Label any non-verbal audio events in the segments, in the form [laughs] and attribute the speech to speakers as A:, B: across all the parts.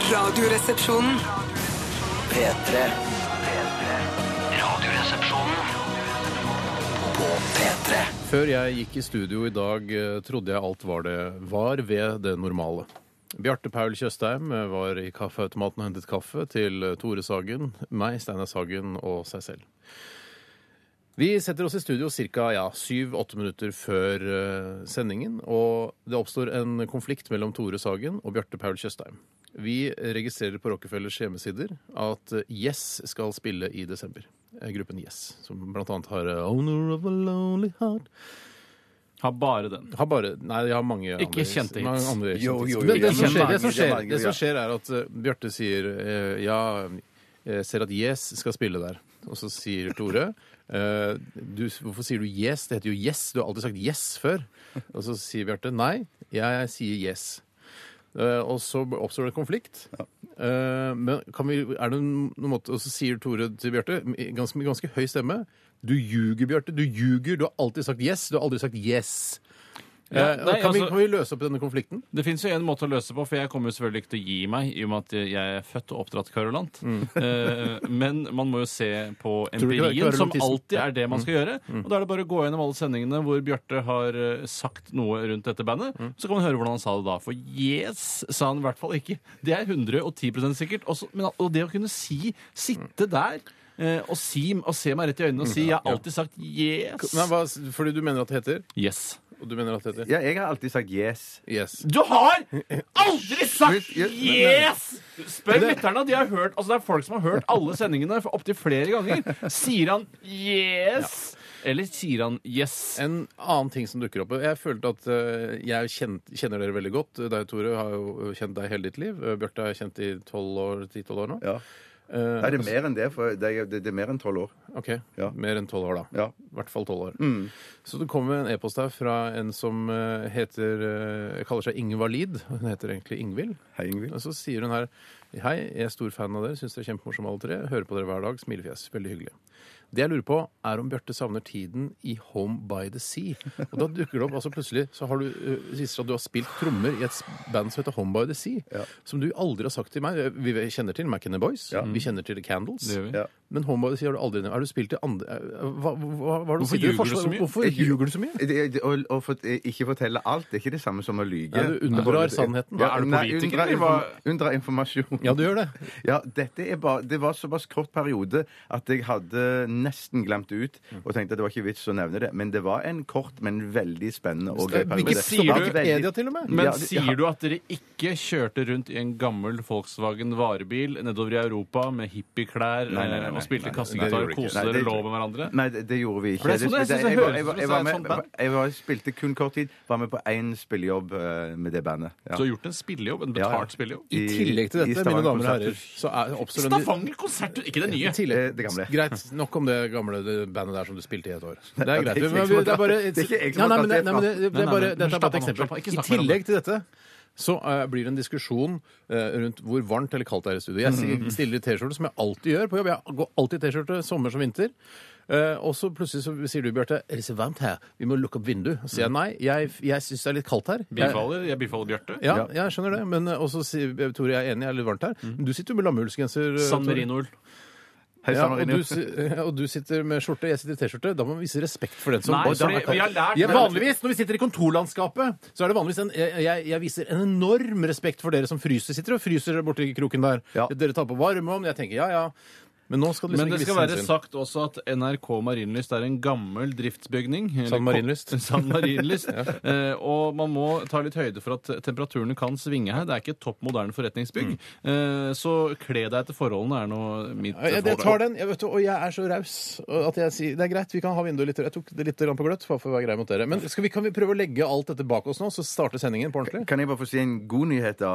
A: Radioresepsjonen.
B: P3 Radioresepsjonen På P3
C: Før jeg gikk i studio i dag, eh, trodde jeg alt var det var ved det normale. Bjarte Paul Tjøstheim eh, var i kaffeautomaten og hentet kaffe til eh, Tore Sagen, meg, Steinar Sagen og seg selv. Vi setter oss i studio ca. Ja, syv-åtte minutter før eh, sendingen, og det oppstår en konflikt mellom Tore Sagen og Bjarte Paul Tjøstheim. Vi registrerer på Rockefellers hjemmesider at eh, Yes skal spille i desember. Eh, Gruppen Yes, som blant annet har eh, Owner of a Lonely Heart
D: Har bare den.
C: har bare, nei, jeg har mange andre,
D: Ikke kjente hits.
C: Mange andre
B: Jo, jo,
C: kjente hits.
B: jo,
C: Men det,
B: jeg
C: som
D: kjenner
C: skjer,
D: mange,
C: det, som
B: jeg
C: skjer,
B: kjenner
C: det som
B: mange,
C: skjer, er at eh, Bjarte sier eh, Ja, jeg ser at Yes skal spille der. Og så sier Tore [laughs] eh, du, Hvorfor sier du Yes? Det heter jo Yes. Du har alltid sagt Yes før. Og så sier Bjarte nei, jeg sier Yes. Eh, og så oppstår det konflikt. Eh, men kan vi, er det noen måte, Og så sier Tore til Bjarte, med ganske, med ganske høy stemme Du ljuger, Bjarte. Du ljuger. Du har alltid sagt yes. Du har aldri sagt yes.
D: Ja,
C: Eh,
D: nei,
C: kan, vi,
D: altså-
C: kan vi løse opp denne konflikten?
D: Det fins jo en måte å løse på, for jeg kommer jo selvfølgelig ikke til å gi meg i og med at jeg er født og oppdratt kverulant. [laughs] Eh, men man må jo se på
C: Mm. du ikke det er
D: empirien, som
C: kverulantisme? Mm.
D: alltid er det man skal gjøre. Og da er det bare å gå gjennom alle sendingene hvor Bjarte har eh, sagt noe rundt dette bandet.
C: Mm.
D: Så kan man høre hvordan han sa det da. For yes, sa han i hvert fall ikke. Det er 110 sikkert. Også, men, og det å kunne si Sitte der eh, og, si, og se meg rett i øynene og si 'jeg har alltid sagt yes'.
C: Nei, Mm. hva, fordi du mener at det heter?
D: Yes.
C: Og du mener at det heter?
E: Ja, jeg har alltid sagt yes.
C: Yes.
D: Du har aldri sagt
E: Men-
D: yes! Spør lytterne. De har hørt, altså det er folk som har hørt alle sendingene opptil flere ganger. Sier han yes? Eller sier han yes?
C: En annen ting som dukker opp Jeg følte at eh, jeg kjent, kjenner dere veldig godt. Deg, Tore, har jo kjent deg hele ditt liv. Eh, Bjarte har jeg kjent i 12 år, 10-12 år nå.
E: Ja.
C: Eh,
E: Nei, det er mer enn det, for det er, det er mer enn tolv år.
C: Ok,
E: Ja.
C: Mer enn 12 år, da.
E: Ja. Mm.
C: I hvert fall 12 år. Så det kommer en e-post her fra en som eh, heter eh, kaller seg Inge Valid. Hun heter egentlig Ingvild.
E: Hei, Ingvild.
C: Og så sier hun her Hei, jeg er stor fan av dere. Syns dere er kjempemorsomme alle tre. Hører på dere hver dag. Smilefjes. Veldig hyggelig. Det jeg lurer på, er om Bjarte savner tiden i Home by the Sea. Og da dukker det opp altså plutselig så har du, eh, viser det seg at du har spilt trommer i et s- band som heter Home by the Sea. Som du aldri har sagt til meg. Eh, Vi kjenner til McInner Boys. Vi kjenner til The Candles.
D: Det gjør vi.
E: Ja.
C: Men Homeboy sier du aldri nevnt. Er du spilt i andre eh, hva, hva, hva er det
D: Hvorfor
C: sier du
D: ljuger
C: forsvar-
D: du så mye?
C: Hvorfor ljuger du så mye?
E: Det, det, å, å fort- eh, ikke fortelle alt det er ikke det samme som å lyge.
C: Nei, du unndrar sannheten.
E: Ja,
D: Er du
E: nei,
D: politiker,
E: unndra
D: eller
E: inform-
D: hva?
E: Unndra informasjon.
C: Ja, du gjør det.
E: Ja, dette er bare, Det var såpass kort periode at jeg hadde nesten glemt det ut. Og tenkte at det var ikke vits å nevne det. Men det var en kort, men veldig spennende og gøy periode.
C: Hvilket
D: sier
C: står
D: du?
C: på Wikipedia til og med?
D: Men
E: Ja, det- ja.
D: sier du at dere ikke kjørte rundt i en gammel Volkswagen varebil nedover i Europa med hippieklær
E: Nei, nei, nei,
D: eh, og
E: nei,
D: spilte
E: nei,
C: det
D: kassegitar
C: gjorde
D: og
C: du ikke.
D: koste
E: Nei,
D: dere
E: det-
D: lå med hverandre?
E: Nei, det, det gjorde vi ikke.
D: For det er sånn jeg synes det
E: jeg, var-
D: høres
E: jeg, var-
D: ut
E: jeg,
D: som
E: var
D: det er et sånt
E: med- jeg var- spilte kun kort tid. Var med på én spillejobb eh, med det bandet. Ja.
D: Du har gjort en spillejobb, en
E: Ja, ja.
D: betalt spillejobb.
C: I tillegg til
E: i
C: dette, mine
E: Stavanger
C: damer og
E: konserthus.
C: herrer, så er oppstår en-
D: Stavanger konserthus! Ikke det nye.
C: Tillegg-
E: Eh, det gamle.
C: [laughs] Greit. Nok om det gamle det bandet der som du spilte i
E: [laughs]
C: et år. Det er
E: er
C: greit.
E: ikke jeg
C: Men
E: som har
C: Det er bare
E: tatt- det er ikke jeg som
C: Nei,
E: har
C: nei, men det-
E: tatt det
C: nei, men det- det er
D: Nei, nei,
C: bare-
D: men
C: Dette er bare
D: slapp
C: et
D: av nå, slapp av.
C: eksempel.
D: Ikke
C: I
D: snakk mer om
C: tillegg til dette så eh, blir det en diskusjon eh, rundt hvor varmt eller kaldt det er i studio. Jeg
D: [laughs]
C: sier- stiller i T-skjorte, som jeg alltid gjør på jobb. Jeg går alltid i T-skjorte, sommer som vinter. Eh, og så plutselig så sier du, Bjarte, er det så varmt her? Vi må lukke opp vinduet. Så sier
D: Mm.
C: jeg nei, jeg, jeg syns det er litt kaldt her. Jeg-
D: Bifaller, jeg bifaller Bjarte.
C: Ja, jeg skjønner det. Men eh, også sier Tore, jeg er enig, jeg er litt varmt her. Men du sitter jo med lammehullsgenser. eh,
D: San
C: Tore.
D: Marino-ull.
E: Hei,
C: Ja,
E: San
C: og,
E: Marino.
C: du, si- [laughs] ja, og du sitter med skjorte, jeg sitter i T-skjorte. Da må man vise respekt for den som sånn
D: Nei,
C: Og da-
D: fordi vi har lært-
C: Ja, vanligvis, Når vi sitter i kontorlandskapet, så er det vanligvis en jeg, jeg- jeg viser en enorm respekt for dere som fryser. Sitter og fryser borti kroken der.
E: Ja.
C: Dere tar på varmeovn. Jeg tenker ja, ja. Men nå skal du liksom
D: Men det
C: ikke
D: skal
C: vise
D: være
C: hensyn.
D: sagt også at NRK Marienlyst er en gammel driftsbygning. Eller
C: San Marienlyst.
D: [laughs] ko- San Marienlyst.
C: [laughs]
D: Eh, og man må ta litt høyde for at temperaturene kan svinge her. Det er ikke et topp moderne forretningsbygg. Eh, så kle deg etter forholdene er nå mitt
C: Ja, Jeg, jeg tar den, jeg vet, du, og jeg er så raus at jeg sier det er greit, vi kan ha vinduet litt Jeg tok det litt grann på gløtt bare for å være grei mot dere. Men skal vi, kan vi prøve å legge alt dette bak oss nå, så starter sendingen på ordentlig?
E: Kan jeg bare få si en god nyhet, da?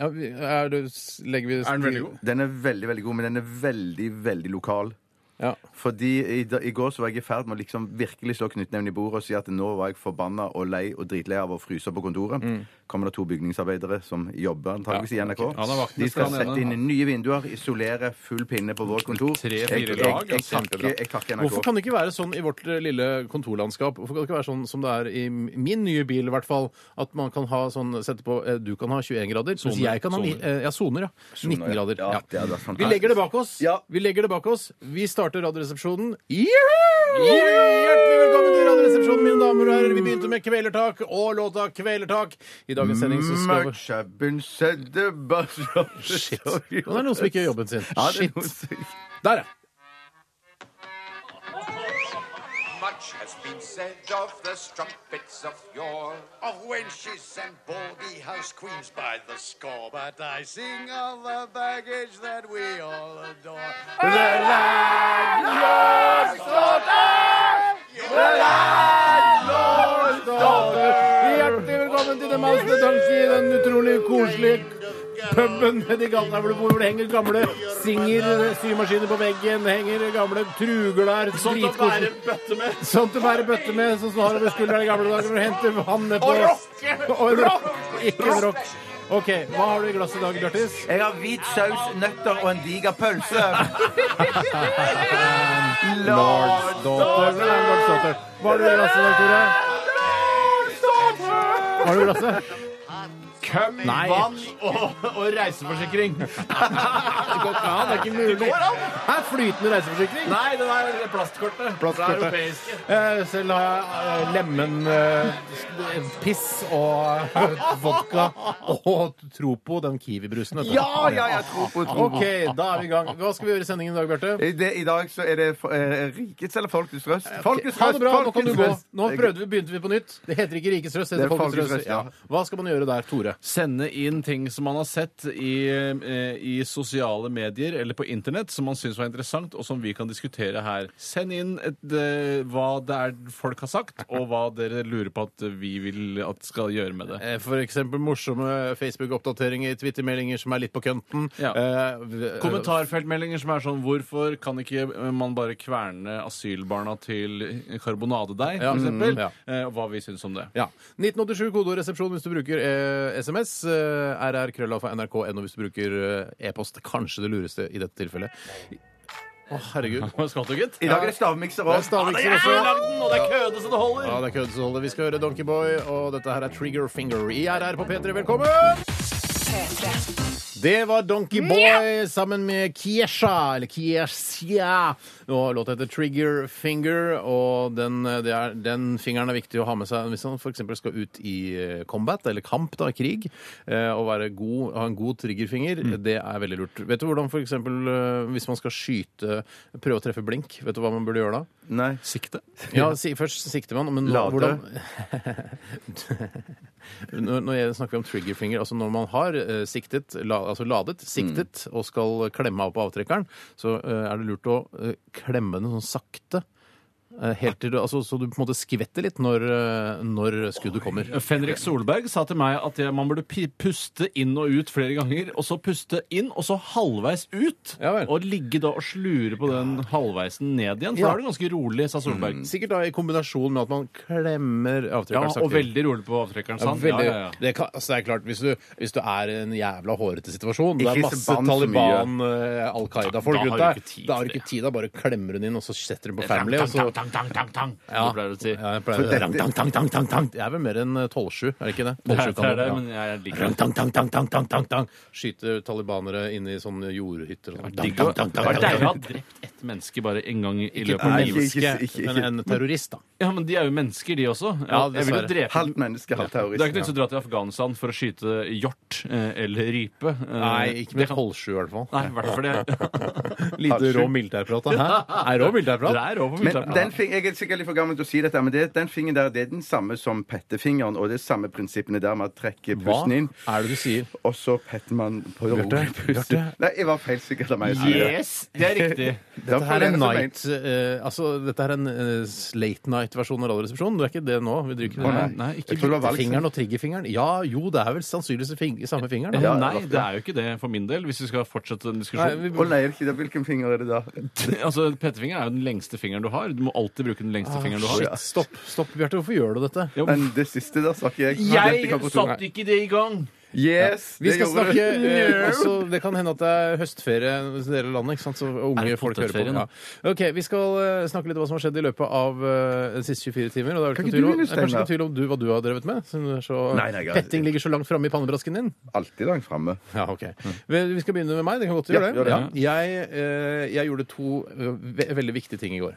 C: Ja, vi- er det, legger vi
D: Er den veldig god?
E: Den er veldig, veldig god, men den er veldig, veldig lokal.
C: Ja.
E: Fordi i, da- i går så var jeg i ferd med å liksom virkelig slå knyttneven i bordet og si at nå var jeg forbanna og lei og dritlei av å fryse på kontoret.
D: Mm.
E: Kommer det to bygningsarbeidere som jobber antakeligvis i NRK.
D: Han er vakten,
E: De skal
D: skal han
E: sette
D: ene.
E: inn nye vinduer, isolere full pinne på vårt kontor.
D: Tre-fire
E: Jeg- jeg-
D: lag,
E: Jeg
D: altså.
E: takker jeg takker
C: Hvorfor
E: NRK.
C: kan det ikke være sånn i vårt eh, lille kontorlandskap? Hvorfor kan det ikke være sånn som det er i min nye bil, i hvert fall? At man kan ha sånn Sette på eh, Du kan ha 21 grader. Mens
D: Soner.
C: jeg kan ha ni-
D: Soner.
C: eh, Ja, soner, ja. 19 grader.
E: Ja, det hadde vært fantastisk.
C: Vi legger det bak oss.
E: Ja.
C: Vi legger det bak oss. Vi starter Radioresepsjonen. Hjertelig velkommen til Radioresepsjonen, mine damer og herrer. Vi begynte med Kvelertak og låta Kvelertak. I dagens sending så skal vi
E: Matchappen sedde Shit.
C: Nå er det noen som ikke gjør jobben sin.
E: Ja, det er noe
C: Shit.
E: som-
C: Der, ja.
A: Much has been said of the strumpets of yore,
F: Of wenches and baldy house queens by the score, but I sing of the baggage that we all adore.
C: Hjertelig velkommen til The Master Dance i den utrolig koselige puben nedi gata hvor det bor, hvor det henger gamle Singer, symaskiner på veggen, henger gamle truger der. Dritkoselig.
D: bøtte med.
C: Sånt å bære bøtte med, sånn som du har over skulderen i gamle dager når du henter vann nedpå. Og rocke! Rock. Ikke en rock. OK, hva har du i glasset i dag, Bjartis?
E: Jeg har hvit saus, nøtter og en diger
C: [laughs]
E: pølse. Lord
C: Daughter. Landlord's Daughter. Hva har du i glasset i dag, Tore? Hva har du i glasset?
D: Køm,
C: Nei.
D: vann og, og
C: [laughs]
D: reiseforsikring.
C: Det går ikke an, det er ikke mulig. Her er flytende reiseforsikring.
D: Nei, det der plastkortet.
C: Plastkortet.
D: Det er europeiske.
C: Eh, Selv har jeg eh, lemen, eh, s- piss og eh,
D: [laughs]
C: vodka og Tropo, den Kiwi-brusen. vet du.
E: Ja, ja, ja, tro på, tro på.
C: OK, da er vi i gang. Hva skal vi gjøre i sendingen i dag, Bjarte?
E: I, det, I dag så er det for- eh, rikets eller folkets røst. Folkets
C: Ha det bra, nå kan du gå.
E: røst.
C: Nå prøvde vi, begynte vi på nytt. Det heter ikke Rikets Røst, det heter
E: Det er
C: Folkets
E: Folkets
C: Røst.
E: Røst,
C: Ja.
E: ja.
C: Hva skal man gjøre der, Tore?
D: Sende inn ting som man har sett i, eh, i sosiale medier eller på internett som man syns var interessant, og som vi kan diskutere her. Send inn et, eh, hva det er folk har sagt, og hva dere lurer på at vi vil at skal gjøre med det.
C: Eh, For eksempel morsomme Facebook-oppdateringer, Twitter-meldinger som er litt på kønten.
D: Ja.
C: Eh, v-
D: Kommentarfeltmeldinger som er sånn Hvorfor kan ikke eh, man bare kverne asylbarna til karbonadedeig,
C: Ja, Mm,
D: for eksempel?
C: ja.
D: Eh, og Hva vi syns om det.
C: Ja. 1987 kodeord resepsjon hvis du bruker eh, SMS. Eh, RR krøllalfa nrk.no hvis du bruker eh, e-post. Kanskje det lureste i dette tilfellet. Å, herregud.
D: Skvatt du, gitt?
E: I dag er det stavmikser
C: Det er
E: òg.
C: stavmikser også.
D: og det er køde så det holder!
C: Ja, det er kødd som holder. Vi skal høre Donkeyboy, og dette her er Trigger Finger i RR på P3. Velkommen! Det var Donkeyboy sammen med Kiesha, eller Kiesha. Og låta heter Trigger Finger, og den, det er, den fingeren er viktig å ha med seg hvis man f.eks. skal ut i eh, combat, eller kamp, da, krig. eh, Og være god, ha en god triggerfinger, det er veldig lurt. Vet du hvordan f.eks. hvis man skal skyte, prøve å treffe blink, vet du hva man burde gjøre da?
E: Nei.
D: Sikte.
C: Ja, si, først sikter man, men nå,
E: Late.
C: hvordan [laughs] når, når jeg snakker om triggerfinger, altså når man har eh, siktet, la, altså ladet, siktet,
D: Mm.
C: og skal klemme av på avtrekkeren, så eh, er det lurt å eh, klemme den sånn sakte. eh, Helt til du, altså, så du på en måte skvetter litt når, eh, når skuddet kommer.
D: Fenrik Solberg sa til meg at jeg, man burde pi- puste inn og ut flere ganger, og så puste inn, og så halvveis ut.
C: Ja vel.
D: og ligge da og slure på den halvveisen ned igjen, for
C: Ja. Mm.
D: da er det ganske rolig, sa Solberg.
C: Sikkert da i kombinasjon med at man klemmer
D: Ja,
C: avtrekkeren
D: og veldig rolig på avtrekkeren, sa
C: Ja,
D: han. Ja,
C: veldig,
D: ja, ja.
C: Det, kan, altså det er klart, hvis du, hvis du er i en jævla hårete situasjon, det er
E: Ikke
C: masse
E: så bann så
C: Taliban, eh, Al Qaida-folk
D: Da har
C: rundt deg,
D: du ikke tid
C: da har
D: til
C: du ikke tid. Da bare klemmer hun inn, og så setter hun på family, og så
D: Tang, tang, tang, tang, tang, tang,
C: Ja.
D: det pleier du å si.
C: Ja, jeg pleier å-
E: dette-
C: Rang, tang, tang, tang, tang, tang. Jeg er vel mer enn eh, 12-7, er det ikke det? 12-7
D: Det er, det er det,
C: kan
D: men
C: du- ja.
D: jeg liker
C: Rang,
D: det.
C: tang, tang, tang, tang, tang, tang, tang. Skyter talibanere inn i sånne jordhytter og sånn. Tang,
D: Digg å-
C: tang, tang,
D: Det
C: tang,
D: var
C: tang,
D: deilig å
C: tang.
D: ha drept ett menneske bare en gang i
C: Ikke et
D: løpet av
E: Nei,
D: livet.
E: ikke- ikke-
C: menneske,
E: ikke-
C: men en terrorist, da.
D: Ja, men de er jo mennesker, de også.
C: Ja,
D: Ja, jeg vil jo
C: dessverre.
D: drepe
E: Halvt menneske, halvt
D: Det er ikke nødt
E: terrorist.
D: til å dra til Afghanistan for å skyte hjort eh, eller rype. Eh,
C: Nei, ikke med
D: det kan-
C: 12-7 i hvert fall.
D: Nei, i hvert fall
C: [laughs]
D: det.
C: Lite rå militærprat, da. Hæ? Er rå militærprat?
D: Det er over på
E: Men
D: militærplan.
E: den fing, jeg er sikkert litt for gammel til å si dette, men det, den fingeren der det er den samme som pettefingeren, og det er samme prinsippene der med å trekke
C: Hva
E: pusten inn,
C: er det du sier?
E: og så petter man på
C: Bjarte,
E: rolig pusten.
C: Bjarte.
E: Nei, jeg var feilsikker av meg. å si det.
D: Yes! Det er riktig.
E: Det Ja,
C: dette
E: for
C: her er
E: det er
C: en
E: så
C: night eh, Altså, dette er en eh, late night-versjon av Radioresepsjonen. Det er ikke det nå. Vi driver ikke
D: Nei,
C: med
D: nei,
E: Jeg
D: ikke
E: tror det var valgt.
C: Fingeren og triggerfingeren. Ja, jo, det er vel sannsynligvis fing samme fingeren. Da.
E: Ja,
D: Nei,
E: ofte.
D: det er jo ikke det for min del, hvis vi skal fortsette den
C: Nei,
D: diskusjonen.
C: vi,
E: Å nei, er det ikke det? Hvilken finger er det da?
D: Altså, Pettefingeren er jo den lengste fingeren du har. Du må alltid bruke den lengste fingeren du har.
C: Ah, shit, stopp, stopp, Bjarte. Hvorfor gjør du dette?
D: Jo,
E: Men det siste der sa ikke jeg. Dette kan på to.
D: satte ikke det i gang!
E: Yes,
C: Vi
E: det
C: skal
E: gjorde
C: snakke
E: du. [laughs]
C: eh, også, Det kan hende at det er høstferie i deler av landet. ikke sant? Så
D: Er
C: unge
D: det
C: folk hører på.
D: potetferie
C: Ja.
D: nå?
C: Ok, Vi skal eh, snakke litt om hva som har skjedd i løpet av eh, de siste 24 timer. og det er vel
E: Kan
C: ikke
E: ikke
C: noe tvil om, det er
E: du begynne,
C: kanskje ikke noe tvil om du, hva du har drevet med? siden du er så,
E: Nei, nei, jeg har-
C: Petting ligger så langt framme i pannebrasken din.
E: Alltid langt framme.
C: Ja, ok. Vel, Vi skal begynne med meg. Det kan godt
E: Ja,
C: gjøre
E: gjør
C: det.
E: det.
C: Ja. Jeg, eh, jeg gjorde to eh, ve veldig viktige ting i går.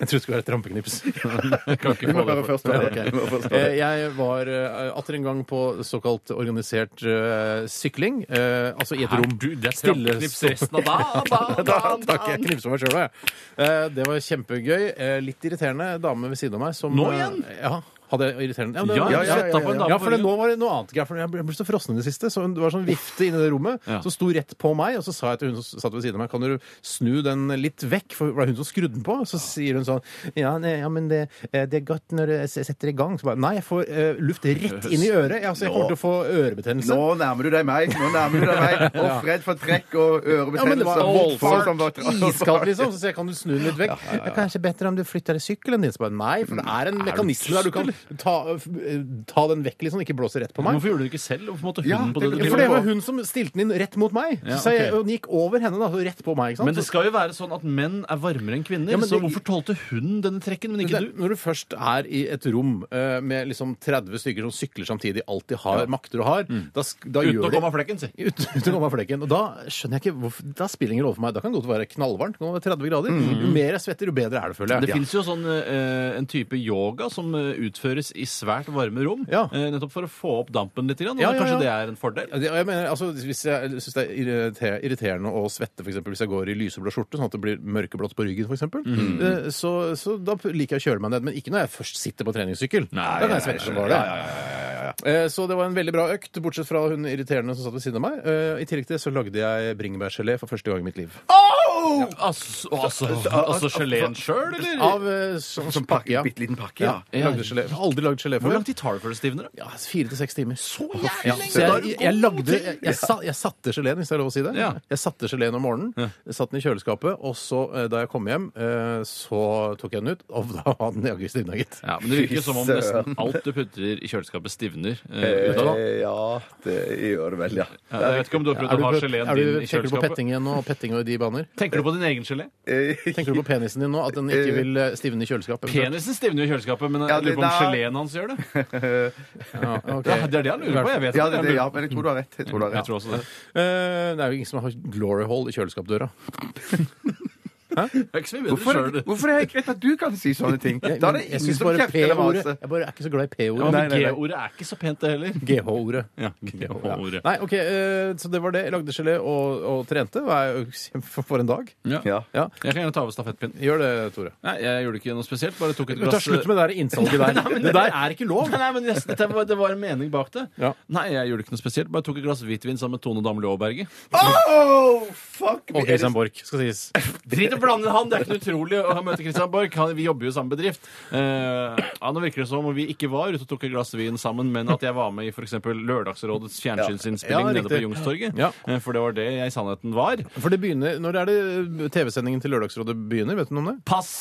C: Jeg trodde det skulle være et rampeknips.
D: Jeg kan ikke
E: [laughs] Vi må
D: få det
E: bare
D: for.
E: først ta [laughs] det.
C: Ja, ok.
E: Vi må først ta
C: Eh,
E: det.
C: Jeg var eh, atter en gang på såkalt organisert eh, sykling. eh, altså i et
D: Her,
C: rom.
D: du, det er
C: Stille
D: trappeknips
C: stå-
D: resten av da-
E: [laughs]
D: da-
C: Da
D: da- da-
C: takk, jeg knipser meg sjøl, jeg. Eh, Det var kjempegøy. Eh, Litt irriterende dame ved siden av meg som
D: Nå
C: eh,
D: igjen?
C: Ja. Hadde jeg irriterende Ja, men det-
D: Ja,
E: ja, ja,
D: sett deg på en dame
C: ja, for det,
D: forrige-
C: nå var det noe annet. greier, For jeg ble jeg ble så frossen i det siste. Så hun, det var sånn vifte inne i det rommet
D: Ja.
C: som sto rett på meg. Og så sa jeg til hun som satt ved siden av meg, kan du snu den litt vekk? For det var hun som skrudde den på. Så sier hun sånn Ja, ne, ja men det, eh, det er godt når det s- setter i gang. Så bare Nei, jeg får eh, luft rett inn i øret. Ja, så jeg
E: Nå.
C: kommer til å få ørebetennelse.
E: Nå nærmer du deg meg! Nå nærmer du deg meg.
C: [laughs]
E: Og Fred for trekk og
C: Ja, men det var
E: ørebetennelse.
C: voldsomt
E: Voldsomt som
C: [laughs]
E: var-
C: iskaldt, liksom. Så sier jeg, kan du snu den litt vekk? Det er kanskje bedre om du flytter deg sykkelen din. Så bare, nei, for det
D: Mm.
C: er en mekanisme der du kan ta, ta den vekk, liksom. Ikke blåse rett på meg.
D: Hvorfor gjorde du det ikke selv? Hvorfor måtte hun
E: Ja,
D: på
E: det-
D: det?
C: Ja, for det var hun som stilte den inn rett mot meg.
D: Ja,
C: så jeg,
D: ok.
C: Hun gikk over henne, da, så rett på meg. ikke sant?
D: Men det skal jo være sånn at menn er varmere enn kvinner,
C: Ja, men
D: så
C: det-
D: hvorfor tålte hun denne trekken, men
C: Men
D: ikke
C: det-
D: du?
C: Når du først er i et rom eh, med liksom 30 stykker som sykler samtidig, alt de har, makter og har, da, sk- da
D: Mm. Uten
C: gjør
D: å
C: [laughs]
D: komme av flekken, si.
C: Uten, uten å komme av flekken. Og da skjønner jeg ikke hvorfor, da spiller det ingen rolle for meg. Da kan det godt være knallvarmt. Det kan være 30 grader. Jo mer jeg svetter, jo bedre er det, føler jeg.
D: Mm. Det fins jo sånn, eh, en type yoga som eh, utføres i svært varme rom,
C: Ja.
D: eh, nettopp for å få opp dampen litt. Grann, og
C: Ja, ja, ja.
D: Kanskje det er en fordel?
C: Ja, det- og Jeg mener, altså, hvis jeg syns det er irriter- irriterende å svette, f.eks. hvis jeg går i lyseblå skjorte, sånn at det blir mørkeblått på ryggen, f.eks., eh, så, så da liker jeg å kjøle meg ned. Men ikke når jeg først sitter på treningssykkel. da kan jeg svette som bare det. Eh, Så det var en veldig bra økt, bortsett fra hun irriterende som satt ved siden av meg. Eh, I tillegg til det så lagde jeg bringebærgelé for første gang i mitt liv.
D: Ja. Altså, altså, altså geleen sjøl, eller?
C: Av eh, sånn som pakke, ja.
E: Bitte liten pakke, ja.
C: ja. jeg lagde gelé. Jeg har Aldri lagd gelé
D: Hvor
C: før.
D: lang tid tar det før det stivner? da?
C: Ja, fire til seks timer. Så
D: jævlig lenge!
C: Så
D: Da er
C: jeg,
D: du
C: jeg,
D: god
C: jeg lagde
D: til-
C: jeg, jeg, sa, jeg satte geleen, hvis det er lov å si det.
D: Ja.
C: Jeg satte geleen om morgenen, satt den i kjøleskapet, og så, eh, da jeg kom hjem, eh, så tok jeg den ut, og da var den jaggu stivna, gitt.
D: Ja, men Det virker som om
E: Fy
D: nesten alt du putter i kjøleskapet, stivner. eh, ut av det.
E: Eh, [laughs] Ja, det gjør det vel, ja.
D: Ja, Jeg vet ikke om du har prøvd
C: Er
D: å
C: du,
D: ha
C: på-
D: geleen
C: er du,
D: din i
C: tenker du på
D: kjøleskapet.
C: petting igjen nå, og petting og de baner?
D: Tenker du på din egen gelé?
E: Eh,
C: Tenker du på penisen din nå, at den ikke vil eh, stivne i kjøleskapet?
D: Penisen stivner jo i kjøleskapet, men
E: Ja,
D: jeg
E: det-
D: lurer på om
E: da-
D: geleen hans gjør det.
C: Ja, ok.
D: Ja, det er det han lurer på. Jeg vet
E: Ja,
D: ikke.
E: det, det, ja, men jeg tror du har rett. Jeg tror du har
D: Jeg
E: rett.
D: tror også det.
C: Eh, det er jo ingen som har glory hole i kjøleskapdøra.
D: Det er ikke så mye
E: Hvorfor,
D: bedre sjøl.
E: hvorfor er det greit at du kan si sånne ting? Da er det
C: Men jeg
E: ingen
C: syns
E: som
C: bare
E: kjefter eller
C: P-ordet
E: maser.
C: Jeg bare er ikke så glad i P-ordet.
E: nei, nei, nei.
D: G-ordet er ikke så pent, det heller.
C: GH-ordet.
D: [laughs] Ja, G-ordet.
C: Nei, ok, eh, så det var det. Jeg lagde gelé og, og trente. Det er [laughs] jo kjempe for en dag.
E: Ja.
C: Ja,
D: Jeg kan gjerne ta over stafettpinnen.
C: Gjør det, Tore.
D: Nei, jeg gjorde ikke noe spesielt. Bare tok et
C: Vi tar
D: glass
C: slutt med det der innsalget
D: [laughs]
C: der. det der er ikke lov.
D: Nei, [laughs] nei, men nesten, dette var, Det var en mening bak det.
C: Ja.
D: Nei, jeg gjorde ikke noe spesielt. Bare tok et glass hvitvin sammen med Tone Damli Aaberge.
E: Oh, fuck!
C: Og Christian Borch, skal sies.
D: Drit i å blande han! Det er ikke noe utrolig å møte Christian Borch. Han, vi jobber jo i samme bedrift. Eh, ja, nå virker det som om vi ikke var ute og tok et glass vin sammen, men at jeg var med i f.eks. Lørdagsrådets fjernsynsinnspilling
C: Ja,
D: nede på
C: riktig.
D: Youngstorget.
C: Ja.
D: Eh, for det var det jeg i sannheten var.
C: For det begynner, Når er det TV-sendingen til Lørdagsrådet begynner? Vet du noe om det?
D: Pass!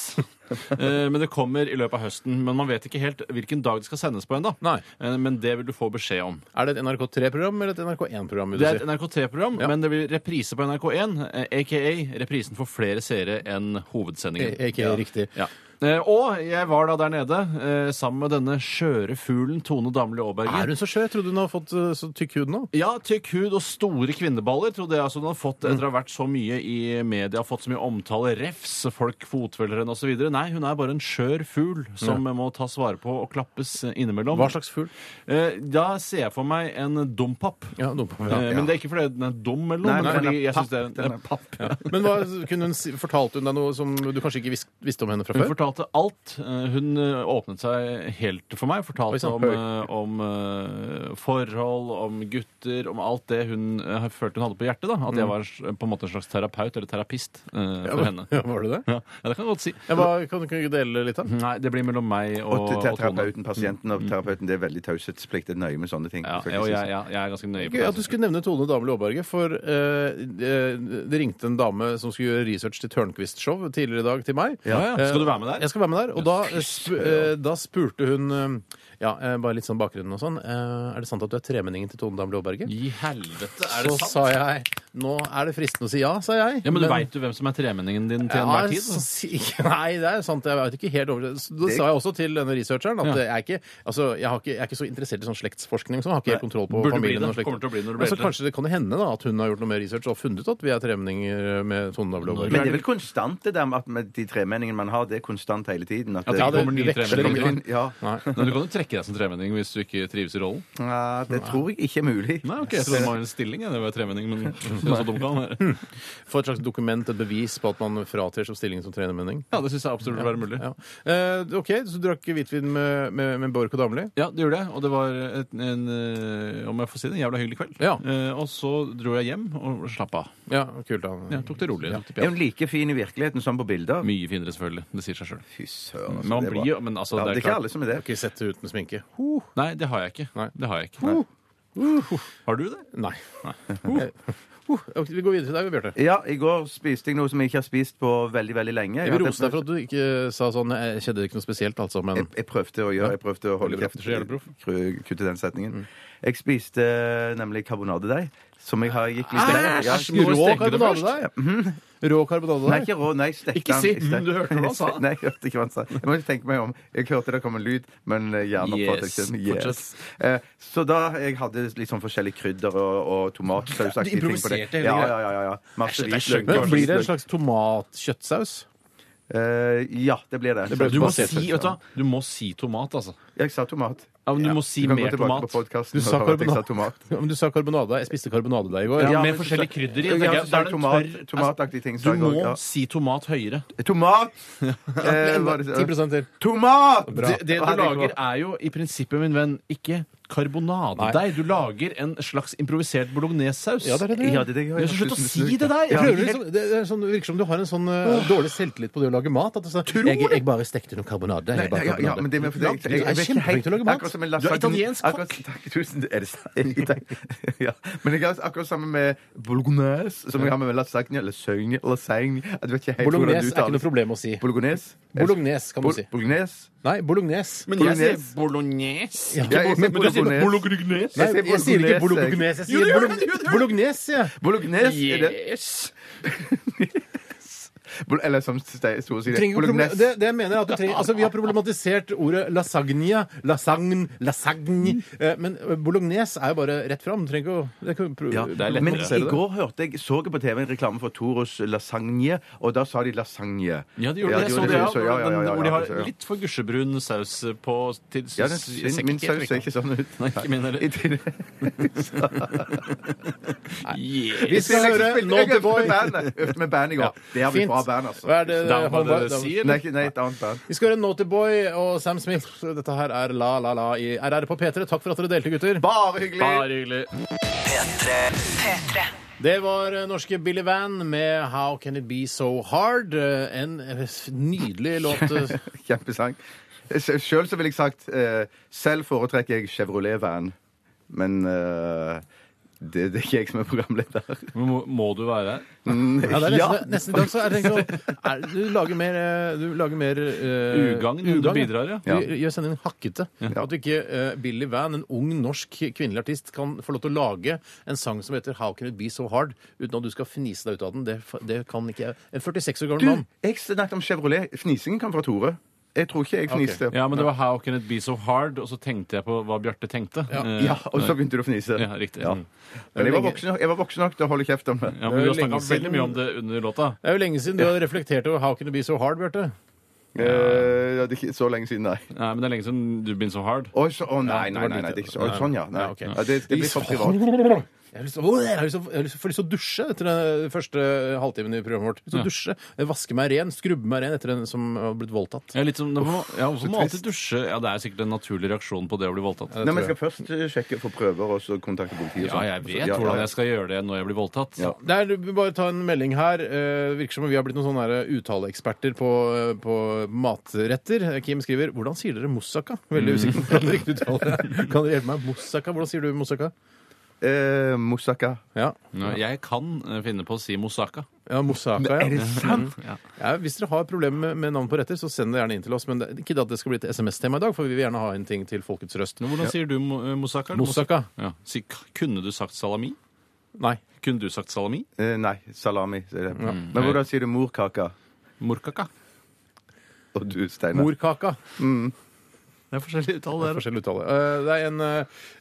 D: Eh, men det kommer i løpet av høsten. Men man vet ikke helt hvilken dag det skal sendes på ennå.
C: Nei.
D: Eh, men det vil du få beskjed om.
C: Er det et NRK3-program eller et NRK1-program? vil du
D: Det er et
C: si?
D: NRK3-program,
C: Ja.
D: men det blir reprise på NRK1, eh, aka reprisen for flere seere enn hovedsendingen.
C: Eh, Ikke riktig.
D: Ja. Eh, Og jeg var da der nede eh, sammen med denne skjøre fuglen Tone Damli Aaberge.
C: Er hun så skjør? Jeg trodde hun hadde fått eh, så tykk hud nå.
D: Ja, tykk hud og store kvinneballer, trodde jeg altså hun hadde fått etter å ha vært så mye i media, fått så mye omtale, refs, folk fotfølger henne osv. Nei, hun er bare en skjør fugl som må tas vare på og klappes innimellom.
C: Hva slags fugl?
D: Eh, Da ser jeg for meg en dompap.
C: Ja, dumpa.
D: Eh,
C: Ja.
D: Men det er ikke fordi den er dum eller
E: Nei,
D: noe, men
E: nei, den
D: fordi
E: er
D: jeg synes det er
E: Den
D: en
E: er papp.
C: Men hva, kunne hun si, fortalte hun deg noe som du kanskje ikke vis, visste om henne fra
D: Hun
C: før?
D: fortalte fortalte alt. Eh, Hun eh, åpnet seg helt for meg.
C: Oi,
D: Fortalte
C: sann,
D: om, eh, om eh, forhold, om gutter, om alt det hun eh, følte hun hadde på hjertet. da At jeg var s- på en måte en slags terapeut eller terapist eh, for henne.
C: Ja, var det det?
D: Ja, ja, det kan jeg godt si.
C: Ja, hva, kan du ikke dele litt, da?
D: Nei, det blir mellom meg og,
E: Og til
D: og Tone.
E: terapeuten, pasienten og terapeuten, det er veldig taushetsplikt. Det er nøye med sånne ting.
D: Ja,
E: skal
D: jeg,
E: ikke
D: og
E: si
D: jeg, ja, jeg er ganske nøye på
C: Gøy
D: det.
C: at du skulle nevne Tone Damli Aaberge, for eh, det det ringte en dame som skulle gjøre research til Tørnquist-show tidligere i dag, til meg.
D: Ja, ja.
C: Eh,
D: Skal du være med der?
C: Jeg skal være med der. Og da, eh, sp eh, da spurte hun eh, Ja, eh, bare litt sånn bakgrunnen og sånn. eh, er det sant at du er tremenningen til Tone Damli Aaberge?
D: I helvete, er det
C: Så
D: sant?
C: sa jeg Nå er det fristende å si ja, sa jeg.
D: Ja, Men, du veit jo hvem som er tremenningen din til
C: Ja,
D: enhver tid?
C: så
D: da.
C: si- [laughs] Nei, det er sant. Jeg vet ikke helt over det. Så Da sa jeg også til denne researcheren at
D: Ja.
C: jeg, er ikke, altså, jeg, har ikke, jeg er ikke så interessert i sånn slektsforskning. Så jeg har ikke helt kontroll på
D: Burde bli
C: familien.
D: det.
C: og slekt.
D: Kommer til å bli det når du blir
C: Ja, så
D: eldre.
C: kanskje det kan hende da, at hun har gjort noe mer research og funnet ut at vi er tremenninger med Tone Dable
E: det. Men det er vel konstant det der med at med de tremenningene man har, det er konstant hele tiden. At
D: det kommer nye
E: det kommer
D: tremenninger.
E: inn. Ja.
D: Men du kan jo trekke deg som tremenning hvis du ikke trives i rollen.
E: Nei, det tror jeg ikke er mulig.
D: Nei, ok, Jeg trodde det var en stilling. jeg, Det var tremenning, men det er så dum kan han være.
C: For et slags dokument, et bevis på at man fratrer som stilling som tremenning.
D: Ja, det syns jeg absolutt burde være mulig.
C: Ja. Eh, OK, så du drakk hvitvin med, med, med Borch og Damli.
D: Ja, det gjorde jeg. Og det var et, en, eh, om jeg får si det, en jævla hyggelig kveld.
C: Ja.
D: Eh, og så dro jeg hjem og slapp av.
C: Ja, kult. da.
D: Jeg tok det rolig. tok det
E: Er
D: pent.
E: hun like fin i virkeligheten som på bilder?
D: Mye finere, selvfølgelig. Det sier seg sjøl.
E: Fy søren. altså,
D: Men man
E: det er
D: blir jo
E: bra.
D: Men altså,
E: ja,
D: det er
E: ikke
D: klart.
E: alle som er det.
C: Ikke sett det uten sminke.
D: Nei, det har jeg ikke.
C: Nei.
D: Det har jeg ikke. Har du det?
C: Nei. Eh, uh, ok, vi går videre til deg, Bjarte.
E: Ja, i går spiste jeg noe som jeg ikke har spist på veldig, veldig lenge.
C: Jeg vil rose deg for at du ikke sa sånn Jeg kjente ikke noe spesielt, altså, men
E: jeg, jeg prøvde å gjøre Jeg prøvde å holde
C: Veldig bra.
E: kjeft.
C: Så jævlig proff. Mm.
E: Kru- Kutte den setningen. Jeg spiste nemlig karbonadedeig, som jeg har gikk litt
C: Æsj!
E: Ja,
C: Må du rå
D: steke det
C: karbonadedeig? Rå
E: Mhm. Nei,
C: karbonadedeig?
E: ikke rå. Nei, stekte
D: Ikke si,
E: den. Jeg stek-
D: mm, du hørte hva han sa.
E: [laughs] Nei, jeg hørte ikke hva han sa. Jeg må tenke meg om. Jeg hørte det kom en lyd, men eh, hjernen oppfattet
D: Yes.
E: ikke den.
D: Fortsett.
E: Eh, Så da jeg hadde litt sånn forskjellige krydder og, og tomatsausaktige ting på det.
D: improviserte hele
E: Ja,
D: greia.
E: ja, ja. ja, ja.
D: Æsj, det
E: Masse
D: er
E: hvitløk.
D: skjønt.
C: Men blir det en slags tomatkjøttsaus?
E: Eh, Ja, det blir det.
C: Det ble
D: Du må,
C: basert
D: si,
C: på-
D: vet du, hva, du må si tomat, altså.
E: Jeg sa tomat.
D: Ja, men du må si
E: Du kan gå
D: mer
E: tilbake
D: tomat.
E: på
C: Du
E: podcasten og
C: sa
E: høre at jeg sa
C: karbonat.
E: tomat.
C: Ja, men du sa karbonadedeig. Jeg spiste karbonadedeig i går.
D: Ja,
E: Ja,
D: med
E: men-
D: forskjellige krydder i.
E: Ja,
D: tenker jeg.
E: så
D: Da
E: sa
D: er det
E: tomat-
D: tørr-
E: tomataktige ting, sa
D: Du
E: jeg
D: må
E: også, ja.
D: si tomat høyere.
E: Tomat! Eh, hva er det-
C: 10 til.
E: Tomat!
D: Det, det du
E: Å, herregud.
D: lager, er jo i prinsippet, min venn, ikke karbonadedeig. Du lager en slags improvisert bolognesaus.
C: Ja, det er det du
E: Ja, det er det jeg gjør.
D: Ja, så Slutt å
E: Tusen
D: si
E: takk.
D: det der!
C: Jeg
E: Ja,
C: prøver
E: helt-
C: liksom, det er sånn, det virker som du har en sånn eh, dårlig selvtillit på det å lage mat. At du sa, jeg, jeg bare stekte noe karbonade.
E: Nei,
C: Jeg bare
E: ja, ja,
C: karbonade.
E: men det med, for det,
C: Du er
E: vet ikke
C: kjempeflink til å lage mat.
E: Akkurat som en
D: Du er
E: lasagne.
D: italiensk kokk.
E: Akkurat- Takk, tusen Er det sant? [laughs] Takk. Ja. Men jeg har akkurat sammen med bolognese, som jeg har med lasagne, lasagne, lasagne Jeg vet ikke helt hvordan
C: Bolognese
E: du
C: er
E: tar
C: ikke noe
E: det.
C: problem å si.
E: Bolognese?
C: Bolognese kan
E: Bol-
C: man si.
E: Bolognese?
C: Nei, bolognese.
D: Men jeg sier
E: Bolognese.
D: bolognese.
C: Ja,
E: Ja, jeg sier
C: men- men du sier
E: bolognese.
C: Nei,
D: Bolognese.
E: Jeg sier
C: jeg sier ikke
E: bolognese,
C: bolognese. Jeg
D: Jo, det
C: sier
D: gjør det,
C: bolog-
D: det gjør det.
C: bolognese. jeg.
E: Bolognese? Er det?
D: Yes.
E: [laughs] Bol- Eller som Ste- Store sier,
C: Trenger problem-
E: bolognese.
C: det, det mener jeg at du trenger Altså, Vi har problematisert ordet lasagne, lasagne, lasagne eh, Men eh, bolognese er jo bare rett fram. Du trenger ikke å det kan jo pro
E: Ja,
D: er lettere.
E: men
C: problematisere
E: i går hørte jeg, så jeg på TV en reklame for Toros lasagne, og da sa de lasagne.
D: Ja, de gjorde det. Jeg så
E: gjorde
D: det, ja.
E: så- ja, ja, ja, ja,
D: Den- Hvor de
E: så- ja.
D: har litt for gusjebrun saus på til
E: Ja, den, min, min saus ser ikke sånn ut.
D: Nei, ikke min heller.
E: I tillegg-
C: Vi
E: [laughs] I
C: skal
E: tillegg så
C: høre
E: spilte jeg
C: Naughty
E: øvde
C: Boy.
E: med bandet. Øvde med band i går. Det har vi
C: Fint.
E: bra band, altså.
C: Hva er det,
D: Da må
C: Håvard?
D: dere si,
E: Nei, ikke- nei, et annet band.
C: Vi skal høre Naughty Boy og Sam Smith. Dette her er La La La i RR på P3. Takk for at dere delte, gutter.
E: Bare hyggelig!
D: Bare hyggelig.
G: P3.
C: Det var eh, norske Billy Van med How Can It Be So Hard. Eh, En eh, nydelig låt. eh,
E: [laughs] Kjempesang. Sjøl så ville jeg sagt eh, Selv foretrekker jeg Chevrolet Van, men eh, det, det er ikke jeg som er programleder.
D: Men Må, må du være her?
C: Ja, det er nesten, nesten det. Så er det sånn, er, du lager mer, eh, du lager mer eh,
D: Ugagn, du bidrar, ja.
C: Du Gjør sendingen hakkete. At ikke eh, Billy Van, en ung norsk kvinnelig artist, kan få lov til å lage en sang som heter How Can It Be So Hard, uten at du skal fnise deg ut av den. Det, f- det kan ikke jeg. En 46 år gammel
E: Du,
C: mann.
E: jeg snakket om Chevrolet. Fnisingen kom fra Tore. Jeg tror ikke jeg fniste.
D: Ja, men det var How Can It Be So Hard, og så tenkte jeg på hva Bjarte tenkte. Eh,
E: Ja, og så begynte du å fnise.
D: Ja, riktig. Mm.
E: Ja. Men jeg var, voksen, nok- jeg var voksen nok til å holde kjeft om det.
D: Ja,
C: Det
D: men Du har
C: er lenge
D: snakka veldig
C: siden.
D: mye om det under låta.
C: Det er jo lenge siden du har reflektert over How Can It Be So Hard, Bjarte.
E: Eh, ja, det er ikke så lenge siden, nei.
D: Nei, men det er lenge siden du begynte så hard.
E: Å, så, å nei, nei, nei, nei, det er ikke så, å, sånn, ja. Nei.
C: Ja, ok.
E: Ja, det, det blir for privat.
C: Jeg har lyst til å- Åh, jeg har lyst til å- jeg har lyst til å få lyst til å dusje etter den eh, første halvtimen i programmet vårt. Så dusje, Vaske meg ren, skrubbe meg ren etter en som har blitt voldtatt.
D: Ja, litt som, det må, ja, hvorfor må alltid dusje? Ja, Det er sikkert en naturlig reaksjon på det å bli voldtatt.
E: Nei, men jeg skal først eh, sjekke for prøver og så kontakte
D: Ja,
E: politiet. og sånn.
D: jeg
E: Ja,
D: vet
E: ja,
D: hvordan
E: ja.
D: jeg skal gjøre det når jeg blir voldtatt.
E: Ja.
C: Det er, bare ta en melding her. Eh, virker som om vi har blitt noen sånne her uttaleeksperter på, eh, på matretter. Eh, Kim skriver 'Hvordan sier dere moussaka?' Veldig usikker på hvordan riktig uttale er. Kan dere hjelpe meg? Moussaka? Hvordan sier du moussaka?
E: Eh, Moussaka.
C: Ja,
D: Nå, Jeg kan eh, finne på å si moussaka.
C: ja moussaka, ja.
D: Mm.
E: sant?
C: ja. Hvis dere har problemer med, med navn på retter, så send det gjerne inn til oss. Men det, ikke at det skal bli et SMS-tema i dag, for vi vil gjerne ha inn ting til Folkets Røst.
D: Men hvordan sier du mo- eh, moussaka?
C: Moussaka?
D: Ja. Si, kunne du sagt salami?
C: Nei.
D: Kunne du sagt salami?
E: Eh, nei, salami. sier jeg.
C: Mm.
E: Men hvordan sier du morkaka?
D: Morkaka.
E: Og du, Steinar.
C: Morkaka.
D: Det er forskjellige uttale
C: Mm. Det er forskjellig uttale. Eh, Det er en,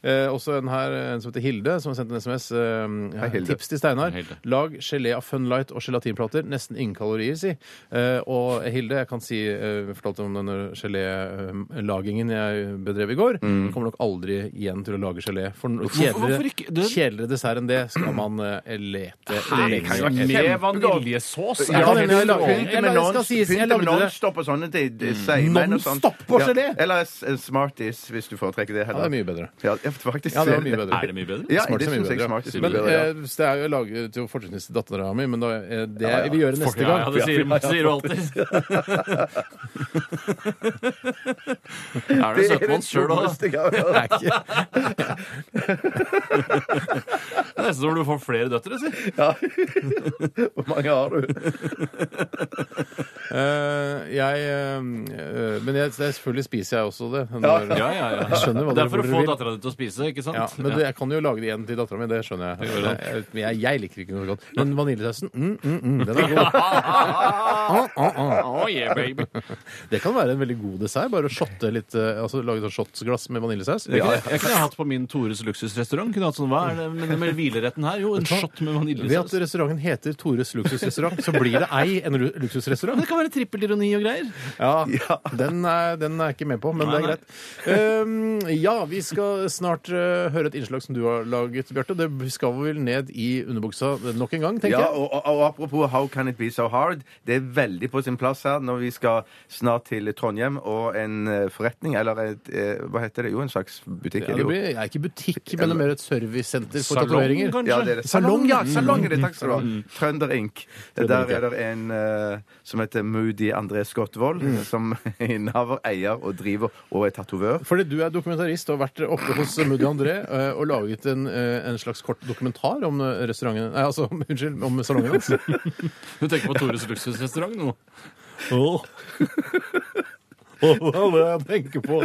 C: eh, også en her, en som heter Hilde, som har sendt en SMS. eh, ja,
E: Hei, Hilde.
C: tips til Steinar.
D: Hei, Hilde.
C: Lag gelé av Funlight og gelatinplater. Nesten ingen kalorier, si. Eh, Og Hilde, jeg kan si eh, Jeg fortalte om denne gelélagingen jeg bedrev i går. Kommer nok aldri igjen til å lage gelé. For noe
D: hvorfor
C: kjedeligere,
D: ikke? Det- Ah,
C: kjedeligere dessert enn det skal man eh, lete lenge
E: jo
C: etter.
D: Med vaniljesås?
C: Ja,
D: Er det
C: men jeg
D: helt
C: lager-
D: vanlig?
C: jeg lager- skal sies, jeg
E: Pynt med
C: lagde det. Mm.
E: nonstop og sånne ting. det- seigmenn og sånn.
C: Nonstop på gelé?
E: Ja. Eller s- eh, Smarties, hvis du foretrekker det.
C: Ja, det er mye bedre.
E: Ja, ja, faktisk.
C: Ja, det var mye bedre.
D: Er det mye bedre?
E: Ja,
C: Smarties
E: det
C: er mye
E: syns jeg
C: bedre, ja.
E: Smarties er
C: Men
E: mye bedre. ja.
C: eh, det er jo laget til fortrinnsvis til dattera mi, men da, eh, det vi gjør neste
D: Ja,
C: gang
D: ja, det sier, sier du [laughs] alltid. er du søtmann sjøl òg?
E: dummeste jeg har hørt.
C: er ikke
D: Det er nesten som om du får flere døtre. Si.
E: [laughs] Hvor mange har du?
C: Eh, jeg, eh, men jeg, jeg, selvfølgelig spiser jeg også det. Når,
D: Ja, ja, ja.
C: Jeg skjønner hva
D: det er
C: dere-
D: for å
C: hvor dere
D: få
C: vil.
D: dattera di til å spise, ikke sant?
C: Ja, men det, jeg kan jo lage det igjen til dattera mi. Det skjønner jeg.
D: Det går an.
C: Jeg, jeg, jeg liker ikke noe godt. Men vaniljesausen, mm, mm, mm, den er god.
D: [laughs]
C: Ah, ah, ah.
D: Oh, yeah, baby.
C: Det kan være en veldig god dessert. Bare å shotte litt, eh, altså lage sånn shotsglass med vaniljesaus.
D: Jeg kunne, jeg kunne hatt på min Tores luksusrestaurant. Kunne hatt sånn, Hva er det med, med hvileretten her? Jo, en shot med
C: Ved at
D: vaniljesaus.
C: restauranten heter Tores luksusrestaurant, så blir det ei en lu- luksusrestaurant.
D: Det kan være trippelironi og greier.
C: [laughs] Ja, Den, er, den er ikke med på, men
D: Nei,
C: det er
D: nei.
C: greit. Ehm, ja, vi skal snart eh, høre et innslag som du har laget, Bjarte. Det skal vi vel ned i underbuksa nok en gang, tenker
E: Ja, og, og, og apropos How Can It Be So Hard, det er veldig på sin plass her når vi skal snart til Trondheim og en eh, forretning, eller et, eh, hva heter det, jo en slags butikk.
C: jeg. Ja,
E: er
C: det
E: det jo.
C: blir jeg er ikke butikk, men det er mer et servicesenter for
D: Salong,
C: tatoveringer.
D: kanskje?
E: Ja, det er det.
C: Salong,
E: Salong, ja!
C: mm.
E: Salong er det, takk skal du ha. Trønder Inc. Der
C: Inc,
E: er det en eh, som heter Moody André Skottvold, som [laughs] innehaver, eier og driver og er tatovør.
C: Fordi du er dokumentarist og har vært oppe hos Moody André eh, og laget en, eh, en slags kort dokumentar om eh, restauranten Nei, altså, [laughs] om- unnskyld, om salongen [laughs] hans.
D: Du tenker på Tores luksusrestaurant nå?
C: Åh. Åh, hva er det jeg tenker på?
E: [laughs]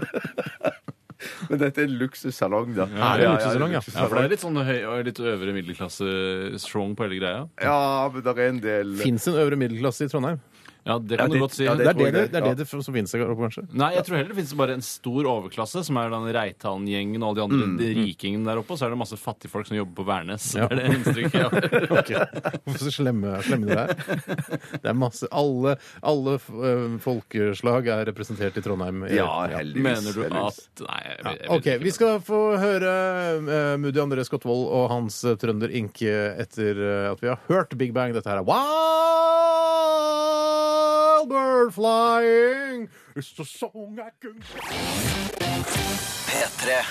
E: Men dette er en luksussalong, da.
C: Ja, det er en luksussalong, ja.
D: Ja, for det er litt sånn høy, og litt øvre middelklasse-strong på hele greia.
E: Ja, men det er en del
C: Fins en øvre middelklasse i Trondheim?
D: Ja, det kan
E: Ja, det-
D: du godt si.
E: ja,
C: Det er
E: tror
C: det
E: jeg
C: det,
E: det,
C: det, er
E: ja.
C: det, det som finnes der oppe, kanskje?
D: Nei, jeg tror heller det finnes bare en stor overklasse, som er den Reitan-gjengen og alle de andre de rikingene der oppe. Og så er det masse fattigfolk som jobber på Værnes.
C: Mm, Ja.
D: Det er det inntrykket jeg har.
C: Ok. Hvorfor så slemme, slemme dere er? Det er masse Alle, alle eh, folkeslag er representert i Trondheim. i-
E: Ja, heldigvis.
D: Mener du
E: heldigvis.
D: at Nei, jeg, jeg,
C: Ja, OK.
D: vet ikke.
C: Vi skal få høre uh, Moody André Skottvold og hans eh, Trønder Ink eh, etter eh, at vi har hørt Big Bang. Dette her er Wild Bird Flying. It's the song I can...
B: P3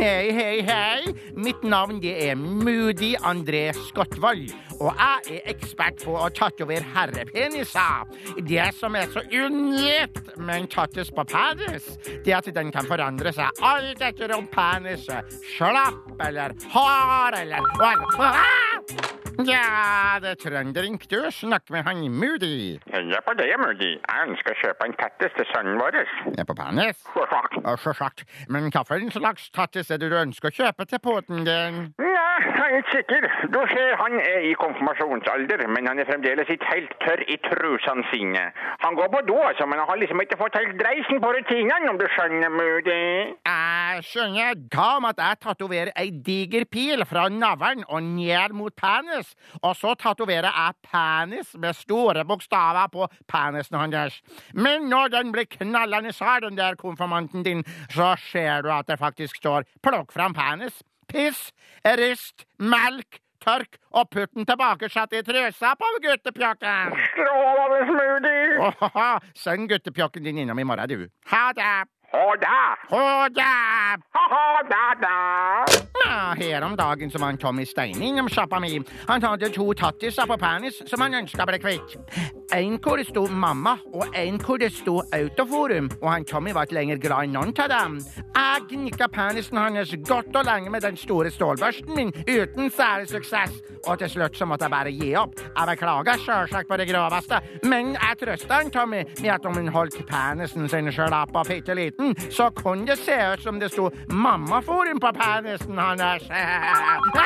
H: Hei, hei, hei. Mitt navn det er Moody André Skottvold. Og jeg er ekspert på å tatovere herrepeniser. Det som er så unikt med en tattis på penis, det er at den kan forandre seg alt etter om penis er slapp eller hard eller Ah! [laughs] Ja, det er trønderink du snakker med han Moody.
I: Heia på det, Moody. Jeg ønsker å kjøpe en tattis til sønnen vår.
H: Er på penis?
I: Fuck.
H: Ja, Sjølsagt. Men hvilken slags tattis er det du ønsker å kjøpe til poten din?
I: Nei, jeg er ikke sikker. Du ser han er i konfirmasjonsalder, men han er fremdeles ikke helt tørr i trusene sine. Han går på do, altså, men han har liksom ikke fått helt dreisen på rutinene, om du skjønner, Moody.
H: Jeg skjønner da med at jeg tatoverer ei diger pil fra navlen og ned mot penis, og så tatoverer jeg penis med store bokstaver på penisen hans. Men når den blir knallende hard, den der konfirmanten din, så ser du at det faktisk står 'plukk fram penis', 'piss', 'rist', 'melk', 'tørk' og 'putt den tilbake satt i trusa på guttepjakken'. [laughs]
I: Strålende, Moody.
H: Åhåhå, send guttepjakken din innom i morgen, du. Ha det!
I: Ha det.
H: Ha det!
I: Ha-ha, da-da.
H: Ja, Ah, her om dagen så var han Tommy Steine innom sjappa mi. Han hadde to tattiser på penis som han ønska ble kvitt. En hvor det sto 'mamma', og en hvor det sto 'Autoforum', og han Tommy var ikke lenger glad i noen av dem. Jeg gnikka penisen hans godt og lenge med den store stålbørsten min, uten særlig suksess, og til slutt så måtte jeg bare gi opp. Jeg beklager sjølsagt på det groveste, men jeg trøsta han Tommy med at om han holdt penisen sin slapp og bitte liten, så kunne det se ut som det sto 'Mammaforum' på penisen hans. [laughs]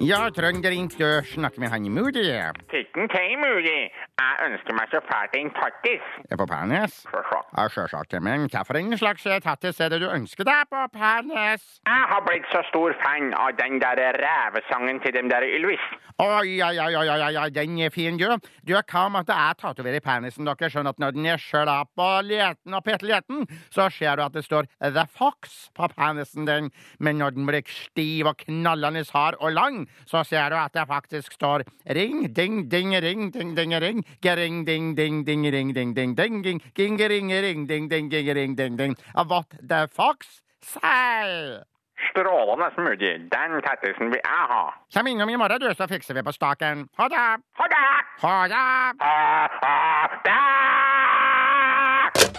H: Ja, trønderink, du snakker med han i Moody.
I: Titten til, Moody. Jeg ønsker meg så fælt en tattis.
H: Er på penis?
I: Sjå-sjå.
H: Ja, sjølsagt. Men hvilken slags tattis er det du ønsker deg på penis?
I: Jeg har blitt så stor fan av den der rævesangen til dem der Ylvis.
H: Oi, oi, oi, oi, oi, oi, den er fin, du. Du, hva om at jeg tatoverer penisen dere skjønner at når den er slapp og liten og peteliten, så ser du at det står The Fox på penisen din, men når den blir stiv og knallende hard og lang, så ser du at det faktisk står Ring, ding, ding, ring, ding, ding, ring, gering, ding, ding, ding, ring, ding, ding, ding, ding, ging, ring, ring, ding, ding, ging, ring, ding, ding, what the fox say?
I: Strålende smoothie. Den tattisen vil jeg ha.
H: Kom innom i morgen, du, så fikser vi på staken. Ha det!
I: Ha det!
H: Ha det!
I: Ha, ha, det!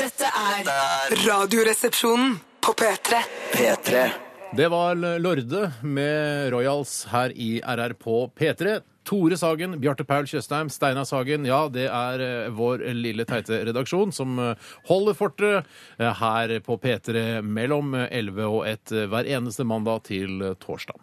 G: Dette er Radioresepsjonen på P3.
B: P3.
C: Det var Lorde med Royals her i RR på P3. Tore Sagen, Bjarte Paul Tjøstheim, Steinar Sagen. Ja, det er eh, vår lille teite redaksjon som eh, holder fortet eh, her på P3 mellom eh, 11 og 1 eh, hver eneste mandag til eh, torsdag.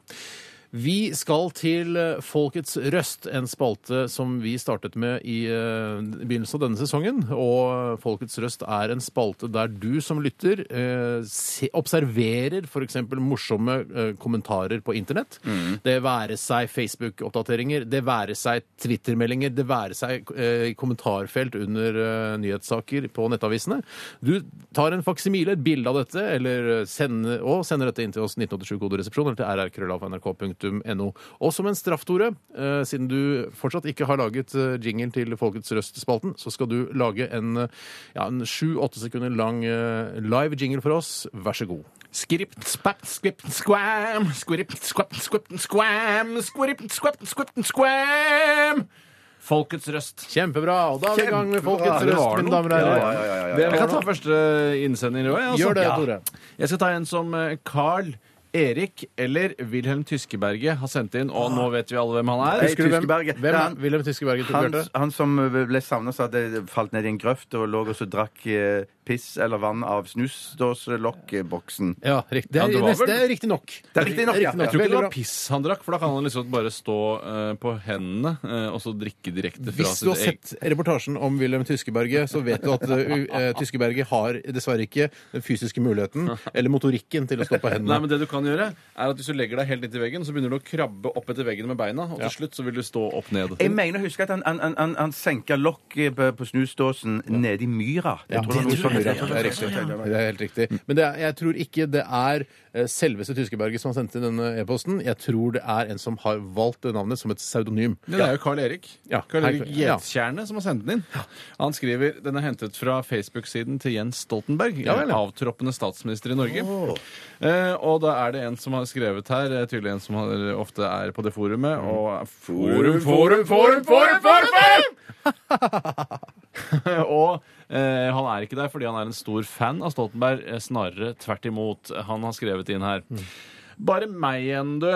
C: Vi skal til eh, Folkets røst, en spalte som vi startet med i eh, begynnelsen av denne sesongen. Og Folkets røst er en spalte der du som lytter eh, se, observerer f.eks. morsomme eh, kommentarer på internett. Det være seg Facebook-oppdateringer, det være seg Twitter-meldinger, det være seg eh, kommentarfelt under eh, nyhetssaker på nettavisene. Du tar en faksimile, et bilde av dette, eller eh, sender, og sender dette inn til oss 1987-koderesepsjon eller til rrkrøllalfa.nrk.no. Og som en straff, Tore, eh, siden du fortsatt ikke har laget eh, jingle til Folkets Røst-spalten, så skal du lage en eh, ja, en sju-åtte sekunder lang eh, live jingle for oss. Vær så god.
D: Skript, spapp, skript, squam. Skript, skvapp, skript, squam. Skript, skvapp, skript, squam. Folkets røst.
C: Kjempebra! Og da er vi i gang med Folkets
D: Det
C: Røst,
D: var
C: mine
D: noe.
C: damer og herrer.
E: Ja, ja, ja, ja, ja.
C: Det
D: Jeg
C: var
D: kan ta
C: noe.
D: første innsender i år. jeg, altså.
C: Gjør det,
D: Ja.
C: Tore.
D: Jeg skal ta en som eh, Carl Erik eller Wilhelm Tyskeberget har sendt inn, og nå vet vi alle hvem han er.
E: Hei,
D: Husker du hvem?
E: Tyskeberget.
C: Hvem
E: Ja,
C: er Wilhelm Tyskeberget? Tore
E: Han,
C: Bjarte?
E: han som ble savna, sa at det falt ned i en grøft og lå og så drakk eh, piss eller vann av snusdåselokkboksen.
C: Ja, riktig. Det
D: Ja,
C: er,
D: det var
C: neste,
D: vel-
C: det er riktig nok.
E: Det er riktig
C: Riktig
E: nok, ja.
C: nok.
D: Jeg tror ikke det
C: Veldig
D: var piss han drakk, for da kan han liksom bare stå eh, på hendene eh, og så drikke direkte fra
C: Hvis du
D: sitt
C: har
D: eget
C: sett reportasjen om Wilhelm Tyskeberget, så vet du at uh, uh, Tyskeberget har dessverre ikke den fysiske muligheten eller motorikken til å stå på
D: Nei, men
C: hendene.
D: det du kan gjøre, er at hvis du legger deg helt inntil veggen, så begynner du å krabbe opp etter veggen med beina, og til slutt så vil du stå opp ned.
E: Jeg mener å huske at han, han, han, han, han senka lokket på, på snusdåsen nede i myra. Jeg
C: Ja,
E: tror det
C: det
E: var noe
C: tror jeg.
E: sånt.
C: Ja, det er riktig. Det er helt riktig. Men det er, jeg tror ikke det er eh, selveste Tyskeberget som har sendt inn denne e-posten. Jeg tror det er en som har valgt det navnet som et pseudonym.
D: Ja, det er jo Carl Erik.
C: Ja,
D: Carl Erik
C: hei, ja.
D: Gjetstjerne som har sendt den inn. Han skriver den er hentet fra Facebook-siden til Jens Stoltenberg,
C: Ja vel, ja.
D: avtroppende statsminister i Norge. Eh, og da er det en som har skrevet her, eh, tydelig en som har, ofte er på det forumet, og Mm. Forum, forum, forum, forum, forum! forum! [laughs] og eh, han er ikke der fordi han er en stor fan av Mm. Stoltenberg, eh, snarere tvert imot. Han har skrevet inn her. Bare meg igjen, du.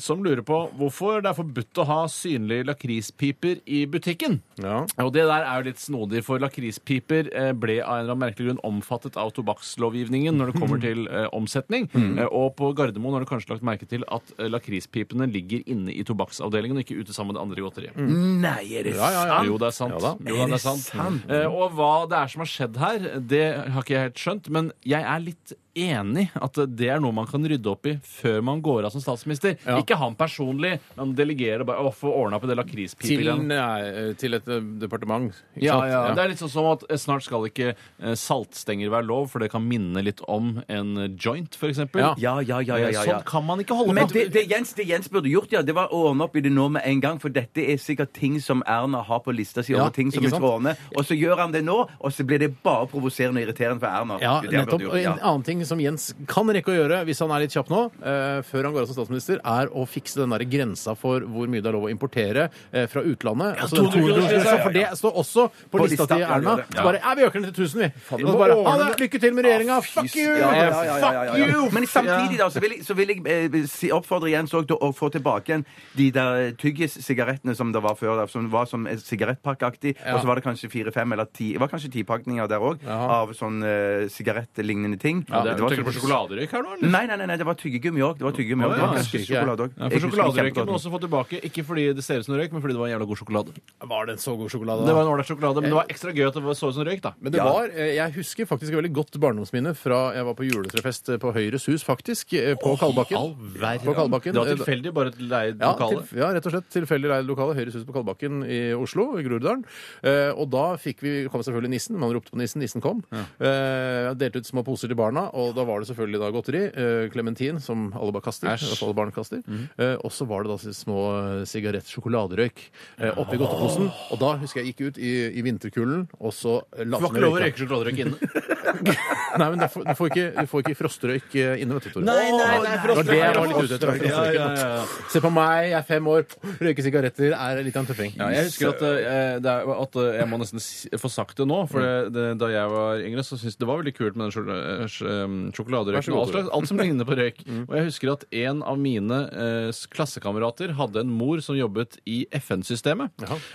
D: som lurer på hvorfor det er forbudt å ha synlige lakrispiper i butikken.
C: Ja.
D: Og det der er jo litt snodig, for lakrispiper eh, ble av en eller annen merkelig grunn omfattet av tobakkslovgivningen når det
C: [laughs]
D: kommer til eh, omsetning.
C: Mm.
D: Eh, og på Gardermoen har du kanskje lagt merke til at eh, lakrispipene ligger inne i tobakksavdelingen og ikke ute sammen med det andre godteriet.
E: Nei, er det
C: Ja, Mm. ja, ja.
D: Jo, det er sant.
C: Ja da.
D: jo, da, det er sant. Eh, og hva det er som har skjedd her, det har ikke jeg helt skjønt. Men jeg er litt enig at det er noe man kan rydde opp i før man går av som statsminister.
C: Ja.
D: Ikke han personlig, men delegere bare å få ordna på det
C: Til,
D: lakrispipegreiene.
C: nei, til et eh, departement. ikke
D: Ja,
C: sant?
D: ja. Det er litt sånn som at eh, snart skal ikke eh, saltstenger være lov, for det kan minne litt om en eh, joint, for eksempel.
C: Ja.
E: Ja, ja, ja, ja, ja, ja.
D: Sånn kan man ikke holde
E: Men
D: på.
E: det, det, Jens, det Jens burde gjort, ja, det var å ordne opp i det nå med en gang. For dette er sikkert ting som Erna har på lista si
C: Ja,
E: over ting som
C: ikke
E: hun
C: sant?
E: skal ordne. Og så gjør han det nå, og så blir det bare provoserende og irriterende for Erna.
C: Ja,
E: Det er det han
C: nettopp.
E: burde
C: Og en
E: gjort, ja.
C: annen ting som Jens kan rekke å gjøre hvis han er litt kjapp nå, eh, før han går av som statsminister, er å fikse den der grensa for hvor mye det er lov å importere eh, fra utlandet. Altså, den 200
D: 200 kronersgrensa,
C: For det står også på, lista
E: lista,
C: til
E: ja,
C: Erna.
E: det gjør det.
C: Så bare ja, vi øker den til 1000, vi.
E: Faen, du
C: Og så
E: må
C: bare
E: ordne
C: ha det!
E: det.
C: Lykke til med regjeringa! Fuck you!
E: Ja, ja, ja, ja, ja, ja,
C: Fuck
E: ja.
C: you!
E: Men samtidig da, så vil jeg, så vil jeg eh, si, oppfordre Jens òg til å få tilbake igjen de der eh, tyggis-sigarettene som det var før. da, Som var som eh, sigarettpakkeaktig.
C: Ja.
E: Og så var det kanskje fire-fem eller ti det var kanskje ti pakninger der òg
C: Jaha.
E: av sånn eh, sigarettlignende ting.
D: Ja, det er,
E: var
D: du tenker på
E: tyggis-
D: sjokoladerøyk her nå, eller?
E: Nei, nei, nei, nei, det var tyggegummi òg. Det var tyggegummi også.
D: Å,
E: Det var
D: ja,
E: kanskje
C: jeg husker ikke.
E: sjokolade òg.
D: Ja, for sjokoladerøyken må også få tilbake, ikke fordi det ser ut som røyk, men fordi det var en jævla god sjokolade.
C: Var det en så god sjokolade?
D: Det
C: da? Eh,
D: var en ålreit sjokolade, men det var ekstra gøy at det var- så ut som røyk, da.
C: Men det
E: Ja.
C: var, eh, jeg husker faktisk et veldig godt barndomsminne fra jeg var på juletrefest eh, på Høyres hus, faktisk, eh, på Kalbakken. På Kalbakken.
D: Det var
C: Eh,
D: tilfeldig, bare et leid
C: Ja,
D: lokale.
C: til, ja, rett og slett tilfeldig leid lokale Høyres hus på Kalbakken i Oslo, i Groruddalen. Eh, og da fikk vi, kom selvfølgelig nissen. Man ropte på nissen, nissen kom. Eh, delte ut små poser til barna, og da var det selvfølgelig da godteri. eh, Klementin, som alle bare kaster. i hvert fall Alle barn kaster.
D: Mhm.
C: Eh, og så var det da små eh, sigarett-sjokoladerøyk eh, oppi godteposen. Og da husker jeg gikk ut i, i vinterkulden, og så eh, la
D: Det var ikke lov å røyke sjokoladerøyk inne.
C: [laughs] Nei, men du får, du får, ikke, du får ikke frostrøyk eh, inne, vet du, Tore.
D: nei,
C: Det var det jeg var litt ute etter. frostrøyken. Se på meg, jeg er fem år. Røyke sigaretter er litt av en tøffing.
D: Ja, jeg husker at, eh, det er, at eh, jeg må nesten si- få sagt det nå, for
C: Mm.
D: det, det, da jeg var yngre, så syntes jeg det var veldig kult med den sjok- eh, sj- eh,
C: Vær så
D: sjokoladerøyken.
C: god,
D: og Alt,
C: Tore. Mm.
D: slags, alt som ligner på
C: [laughs]
D: røyk. Og jeg husker at en av mine eh, s- klassekamerater hadde en mor som jobbet i FN-systemet.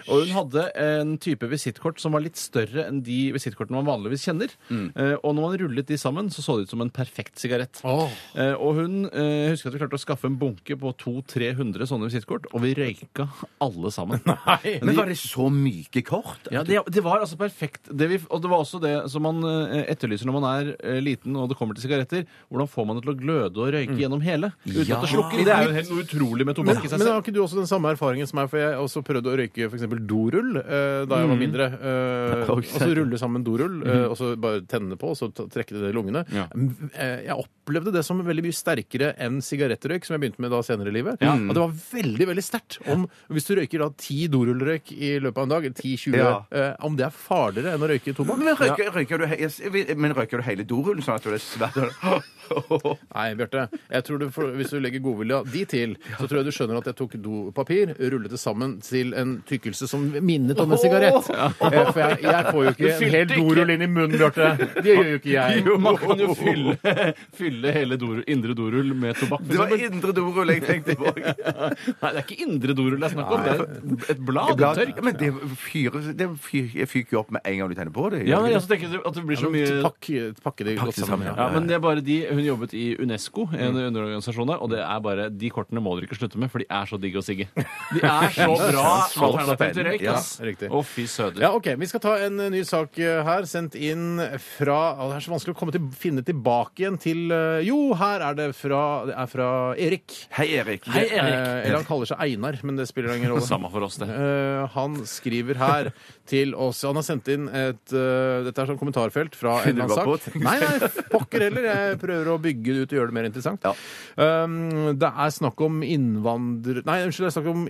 D: Og hun hadde en type visittkort som var litt større enn de visittkortene man vanligvis kjenner.
C: Mm.
D: Eh, og når man rullet de sammen, så så det ut som en perfekt sigarett.
C: Åh.
D: Eh, og hun eh, jeg husker at vi klarte å skaffe en bunke på 200-300 sånne visittkort, og vi røyka alle sammen. [laughs] Nei,
E: Men var det så myke kort?
D: ja, det, det var altså perfekt. Det vi, og det var også det som man eh, etterlyser når man er eh, liten og det kommer til sigaretter. Hvordan får man det til å gløde og røyke gjennom hele uten
E: Ja.
D: at det slukker? Mm. Det er jo helt noe utrolig med
C: Men,
D: tobakk i seg
C: men har
D: selv.
C: ikke du også den samme erfaringen som meg? For jeg også prøvde å røyke f.eks. dorull eh, da
D: Mm.
C: jeg var mindre.
D: [laughs]
C: Eh, og så rulle sammen dorull, eh, og så bare tenne på, og så ta- trekke det i lungene.
D: Mm-hmm. Ja.
C: Mm, Eh, jeg opplevde det som veldig mye sterkere enn sigarettrøyk, som jeg begynte med da senere i livet.
D: Ja.
C: Og det var veldig veldig sterkt. Om- Hvis du røyker da ti dorullrøyk i løpet av en dag, eller 10-20,
E: Ja.
C: eh, om det er farligere enn å røyke tobakk?
E: Men røyker, røyker, du, he- jeg vil- men røyker du hele dorullen sånn at du er svært
D: [laughs]
C: Nei, Bjarte. Jeg tror du, får- Hvis du legger godvilja di til, så tror jeg du skjønner at jeg tok dopapir, rullet det sammen til en tykkelse som minnet om en sigarett. Eh, For jeg, jeg får jo ikke en hel dorull inn i munnen, Bjarte. Det gjør jo ikke jeg.
D: Man kan jo fylle, fylle hele doru, indre dorull med tobakk. for
E: Det var
D: eksempel.
E: indre dorull jeg tenkte på.
D: Nei, det er ikke indre dorull det er snakk om. Det er et, et blad.
E: Ja,
D: Et tørk.
E: men det fyrer det fyr, jeg fyker jo opp med en gang du tenner på det.
D: Ja, men jeg også tenker at det blir så mye
C: Pakke, pakke det godt sammen.
E: sammen,
C: Ja.
D: Ja, men det er bare de, Hun jobbet i Unesco, en underorganisasjon der, og det er bare de kortene må dere ikke slutte med, for de er så digge å sigge. De er [laughs] så bra
E: Så
D: alternativ til røyk,
E: spennende.
D: ass.
C: Ja, riktig.
D: Å, fy søder.
C: Ja, ok. Vi skal ta en eh, ny sak eh, her, sendt inn fra å, Det er så vanskelig å komme til, finne tilbake igjen til eh, Jo, her er det fra, det er fra Erik.
E: Hei, Erik.
C: Eh, Eller han kaller seg Einar, men det spiller ingen rolle.
D: Samme for oss, det.
C: [laughs] Eh, han skriver her til oss Han har sendt inn et eh, Dette er sånn kommentarfelt fra en
E: Finner
C: eller annen
E: du bare
C: sak.
E: på, tenker
C: Nei, nei, pokker heller. Jeg prøver å bygge det ut og gjøre det mer interessant.
E: Ja.
C: Um, det er snakk om innvandrer... Nei, unnskyld, det er snakk om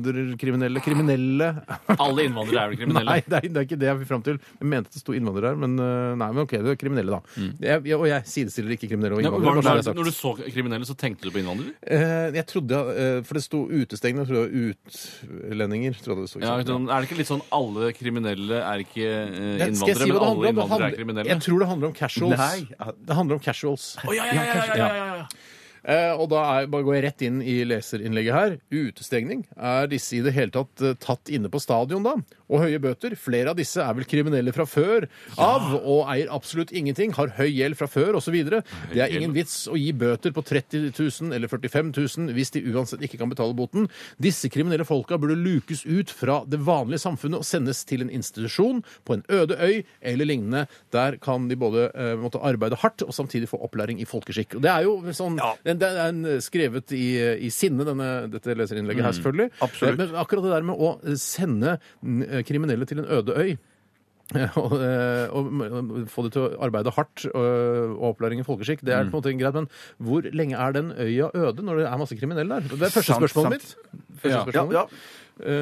C: innvandrerkriminelle. Kriminelle
D: Alle innvandrere er vel kriminelle?
C: Nei, det er, det er ikke det jeg vil fram til. Jeg mente det sto innvandrer her, men eh, nei, men OK, det er kriminelle, da. Jeg, jeg, og jeg sidestiller ikke kriminelle og
D: Nei,
C: innvandrere.
D: Mm.
C: bare
D: var,
C: så det er
D: det-
C: sagt.
D: når du så kriminelle, så tenkte du på innvandrere?
C: Eh, jeg trodde eh, For det sto utestengende, jeg trodde det var utlendinger. Trodde det sto, ikke
D: Ja,
C: sant?
D: sånn, er det ikke litt sånn alle kriminelle er ikke eh,
C: Nei, skal jeg si
D: innvandrere,
C: hva det
D: men alle
C: handler om? Det
D: innvandrere er
C: handler-
D: kriminelle?
C: Jeg tror det handler om casuals.
E: Nei.
C: Det handler om casuals.
D: Å, ja, ja, ja, ja, ja, ja, ja.
C: Eh, og da er, bare går jeg rett inn i leserinnlegget her. Utestengning. Er disse i det hele tatt eh, tatt inne på stadion, da? Og høye bøter? Flere av disse er vel kriminelle fra før av og eier absolutt ingenting, har høy gjeld fra før osv. Det er ingen vits å gi bøter på 30 000 eller 45 000 hvis de uansett ikke kan betale boten. Disse kriminelle folka burde lukes ut fra det vanlige samfunnet og sendes til en institusjon på en øde øy eller lignende. Der kan de både eh, måtte arbeide hardt og samtidig få opplæring i folkeskikk. Og det er jo sånn, den, den er en skrevet i, i sinne, denne, dette leserinnlegget her, selvfølgelig.
E: Mm, absolutt.
C: Men akkurat det der med å sende mm, kriminelle til en øde øy [laughs] og, eh, og m- få det til å arbeide hardt øh, og opplæring i folkeskikk, det
E: Mm.
C: er på en måte greit, men hvor lenge er den øya øde når det er masse kriminelle der? Det er første
E: Sant,
C: spørsmålet
E: sant.
C: mitt. Første
E: Ja,
C: spørsmålet.
E: ja.
C: Eh,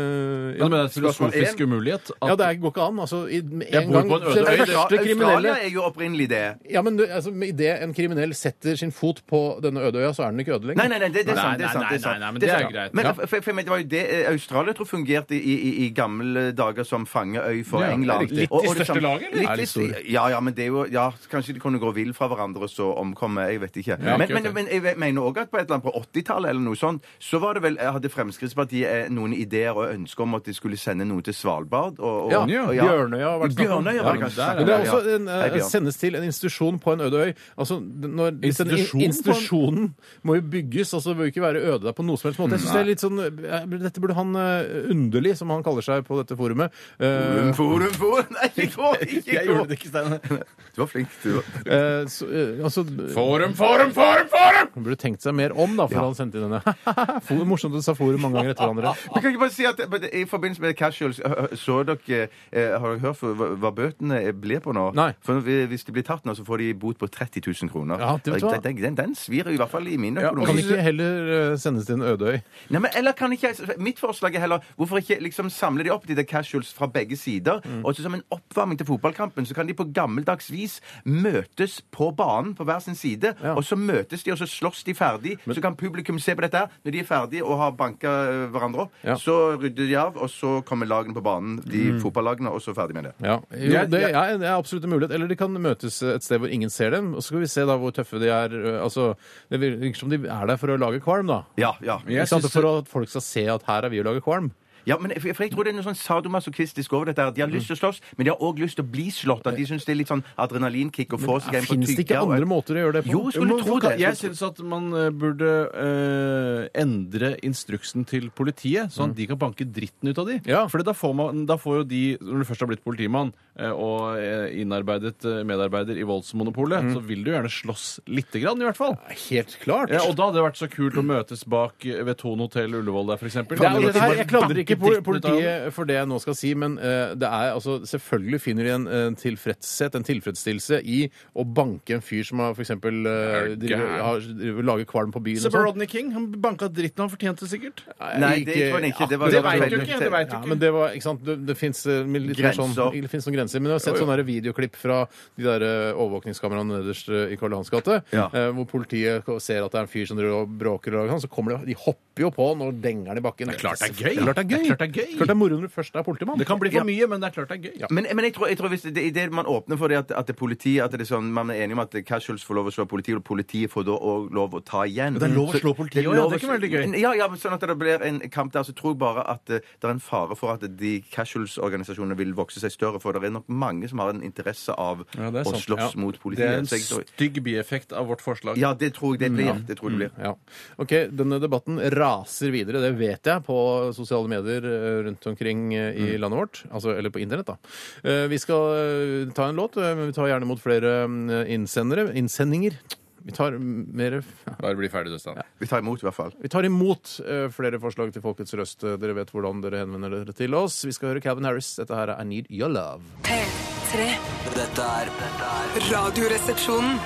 C: ja.
D: Men det er en filosofisk umulighet. At,
C: ja, det er- går ikke an. Altså, i, med en
D: Jeg bor
C: gang,
D: på en øde
C: den
D: øy, det-
C: første kriminelle
E: Australia er jo opprinnelig det.
C: ja, men du, altså, med Idet en kriminell setter sin fot på denne øde øya, så er den ikke øde lenger.
E: Nei, nei, nei, det, det er sant. Det er sant, det er sant.
D: Nei, nei, nei, men det er
E: sant.
D: greit.
E: Men,
D: Ja.
E: for, for, men det var jo det eh, Australia tror fungerte i, i, i gamle dager som fangeøy for
C: Ja,
E: England.
C: det er riktig.
E: Og- og
D: Litt i største
E: det samme-
D: lag, eller?
E: Litt,
C: Er litt
E: litt,
C: stor.
E: ja, ja, men det er jo ja, Kanskje de kunne gå vill fra hverandre og så omkomme. Jeg vet ikke.
C: Ja,
E: men,
C: akkurat
E: men,
C: det.
E: men jeg vet- mener også at på et eller annet på 80-tallet eller noe sånt, så var det vel, eh, hadde Fremskrittspartiet eh, noen ideer og ønsker om at de skulle sende noen til Svalbard. Og, og,
C: Ja,
E: og,
C: Bjørnøya har vært snakk om.
E: Bjørnøya var det kanskje.
D: Ja,
E: snakk
C: Men
E: om,
C: det er
E: ja.
C: også en,
E: Hei,
C: eh,
E: Bjørn.
C: sendes til en institusjon på en øde øy. Altså, d- når, hvis den
D: Institusjon på
C: i-
D: en-
C: institusjonen må jo bygges, altså det bør jo ikke være øde der på noe som helst måte. Jeg synes det er litt sånn, eh, Dette burde han eh, underlig, som han kaller seg på dette forumet eh,
E: Forum, forum, forum. Nei, jeg går ikke!
C: [laughs] Jeg gjorde det ikke, Stein.
E: [laughs] Du var flink, du. var-
C: Eh, så, eh, altså,
D: Forum, forum, forum, forum!
C: han burde tenkt seg mer om, da, før han sendte inn denne. [laughs] For- Morsomt at du sa forum mange ganger etter
D: [laughs]
C: hverandre.
E: Men kan jeg ikke bare si at men I forbindelse med casuals, hø- hø- så dere, eh, har dere hørt for, hva, hva bøtene øh, blir på nå?
C: Nei.
E: For vi- Hvis de blir tatt nå, så får de bot på 30 000 kroner.
C: Ja, det vet du hva.
E: den, den, den, den svir i hvert fall i min
C: Ja,
E: økonomi.
C: kan ikke heller eh, sendes til en øde øy.
E: Nei, men eller kan ikke, jeg- Mitt forslag er heller hvorfor ikke liksom samle de opp, de der casuals fra begge sider,
C: Mm.
E: og så som en oppvarming til fotballkampen, så kan de på gammeldags vis møtes på banen på hver sin side,
C: Ja.
E: og så møtes de, og så slåss de ferdig, så kan publikum se på dette her. Når de er ferdige og har banka øh, hverandre opp,
C: Ja. Mm.
E: så rydder de av, og så kommer lagene på banen, de fotballagene, og så ferdig med det.
C: Ja, jo,
E: Jeg-
C: det,
E: jeg-
C: er, det er absolutt en mulighet. Eller de kan møtes eh, et sted hvor ingen ser dem, og så skal vi se da hvor tøffe de er. eh, Altså, det virker som de er der for å lage kvalm, da.
E: Ja, ja.
C: Ikke sant? For at folk skal se at her er vi og lager kvalm.
E: ja men for, for jeg tror det er noe sånn sadomasochistisk over dette. her.
C: Mm.
E: De har lyst til å slåss, men de har òg lyst til å bli slått. At de syns det er litt sånn adrenalinkick å få seg en på
C: Fins det ikke
E: tygga og-
C: andre måter å gjøre det på?
E: Jo, skulle tro det.
D: Jeg syns at man eh, burde eh, endre instruksen til politiet, sånn at de kan banke dritten ut av de.
C: Mm. Ja.
D: For da, får man- da får jo de, når du først har blitt politimann eh, og eh, innarbeidet eh, medarbeider i voldsmonopolet,
C: Mm.
D: så vil du gjerne slåss lite grann, i hvert fall.
C: Helt klart.
D: Ja, og da hadde det vært så kult å møtes bak eh, ved Thon hotell Ullevål der, for eksempel.
C: det er, jo
D: Kan
C: det
D: man
C: her,
D: bare
C: jeg klandrer
D: banke
C: ikke
D: dritten ut
C: pol-
D: av dem?
C: politiet for det jeg nå skal si, men eh, det er altså Selvfølgelig finner de en, en tilfredshet, en tilfredsstillelse, i å banke en fyr som har f.eks. Uh,
D: gæren.
C: lager kvalm på byen.
D: Se
C: og
D: på
C: sånn.
D: Rodney King. Han banka dritten, han fortjente det sikkert.
E: Nei, det tror jeg ikke. Det var-
C: akkurat
E: det
D: Det vet du
E: veldig-
D: ikke. det vet du
C: Ja,
D: ikke.
C: men det var, ikke sant, det, det fins
E: Grenser.
C: sånn, det finnes noen grenser. Men jeg har sett sånne der videoklipp fra de der eh, overvåkningskameraene nederst eh, i Karl Johans gate,
E: Ja.
C: eh, hvor politiet ko- ser at det er en fyr som driver og bråker, og sånn, så kommer de, de hopper jo på han og denger han i bakken. Det er
D: klart det er gøy.
C: Klart det er gøy.
D: Det er klart det er gøy.
C: Klart det er moro når du først er politimann.
D: Det kan bli for mye, men det er klart det er gøy.
E: Men, men jeg tror, jeg tror hvis det, det, det man åpner for det at, at det er politi, at det er sånn, man er enig om at casuals får lov å slå politiet, og politiet får da òg lov å ta igjen.
D: det er lov å
E: Så-
D: slå politiet
E: er
D: også, ja,
E: lov
D: det er
E: å-
D: ikke veldig gøy.
E: Ja, ja, men sånn at det blir en kamp der, så tror jeg bare at eh, det er en fare for at de casuals-organisasjonene vil vokse seg større, for det er nok mange som har en interesse av
C: Ja, det er
E: å
C: sant,
E: slåss
C: ja.
E: mot
D: Det er
E: politiet.
D: en
E: Så jeg tror,
D: stygg bieffekt av vårt forslag.
E: ja, det tror jeg det blir.
C: Mm.
E: Det tror jeg det blir.
C: Ja. OK, denne debatten raser videre, det vet jeg, på sosiale medier eh, rundt omkring eh, i
D: Mm.
C: landet vårt. Altså, eller på internett, da. Eh, Vi skal eh, ta en låt, eh, men vi tar gjerne imot flere mm, innsendere. Innsendinger. Vi tar, mm, [laughs] mer,
D: Bare bli ferdig, du, Stan.
C: Mm.
E: Vi tar imot, i hvert fall.
C: vi tar imot eh, flere forslag til Folkets Røst. Eh, Dere vet hvordan dere henvender dere til oss. Vi skal høre Calvin Harris. Dette her er I Need Your Love.
G: P3
B: Dette er dette er
G: Radioresepsjonen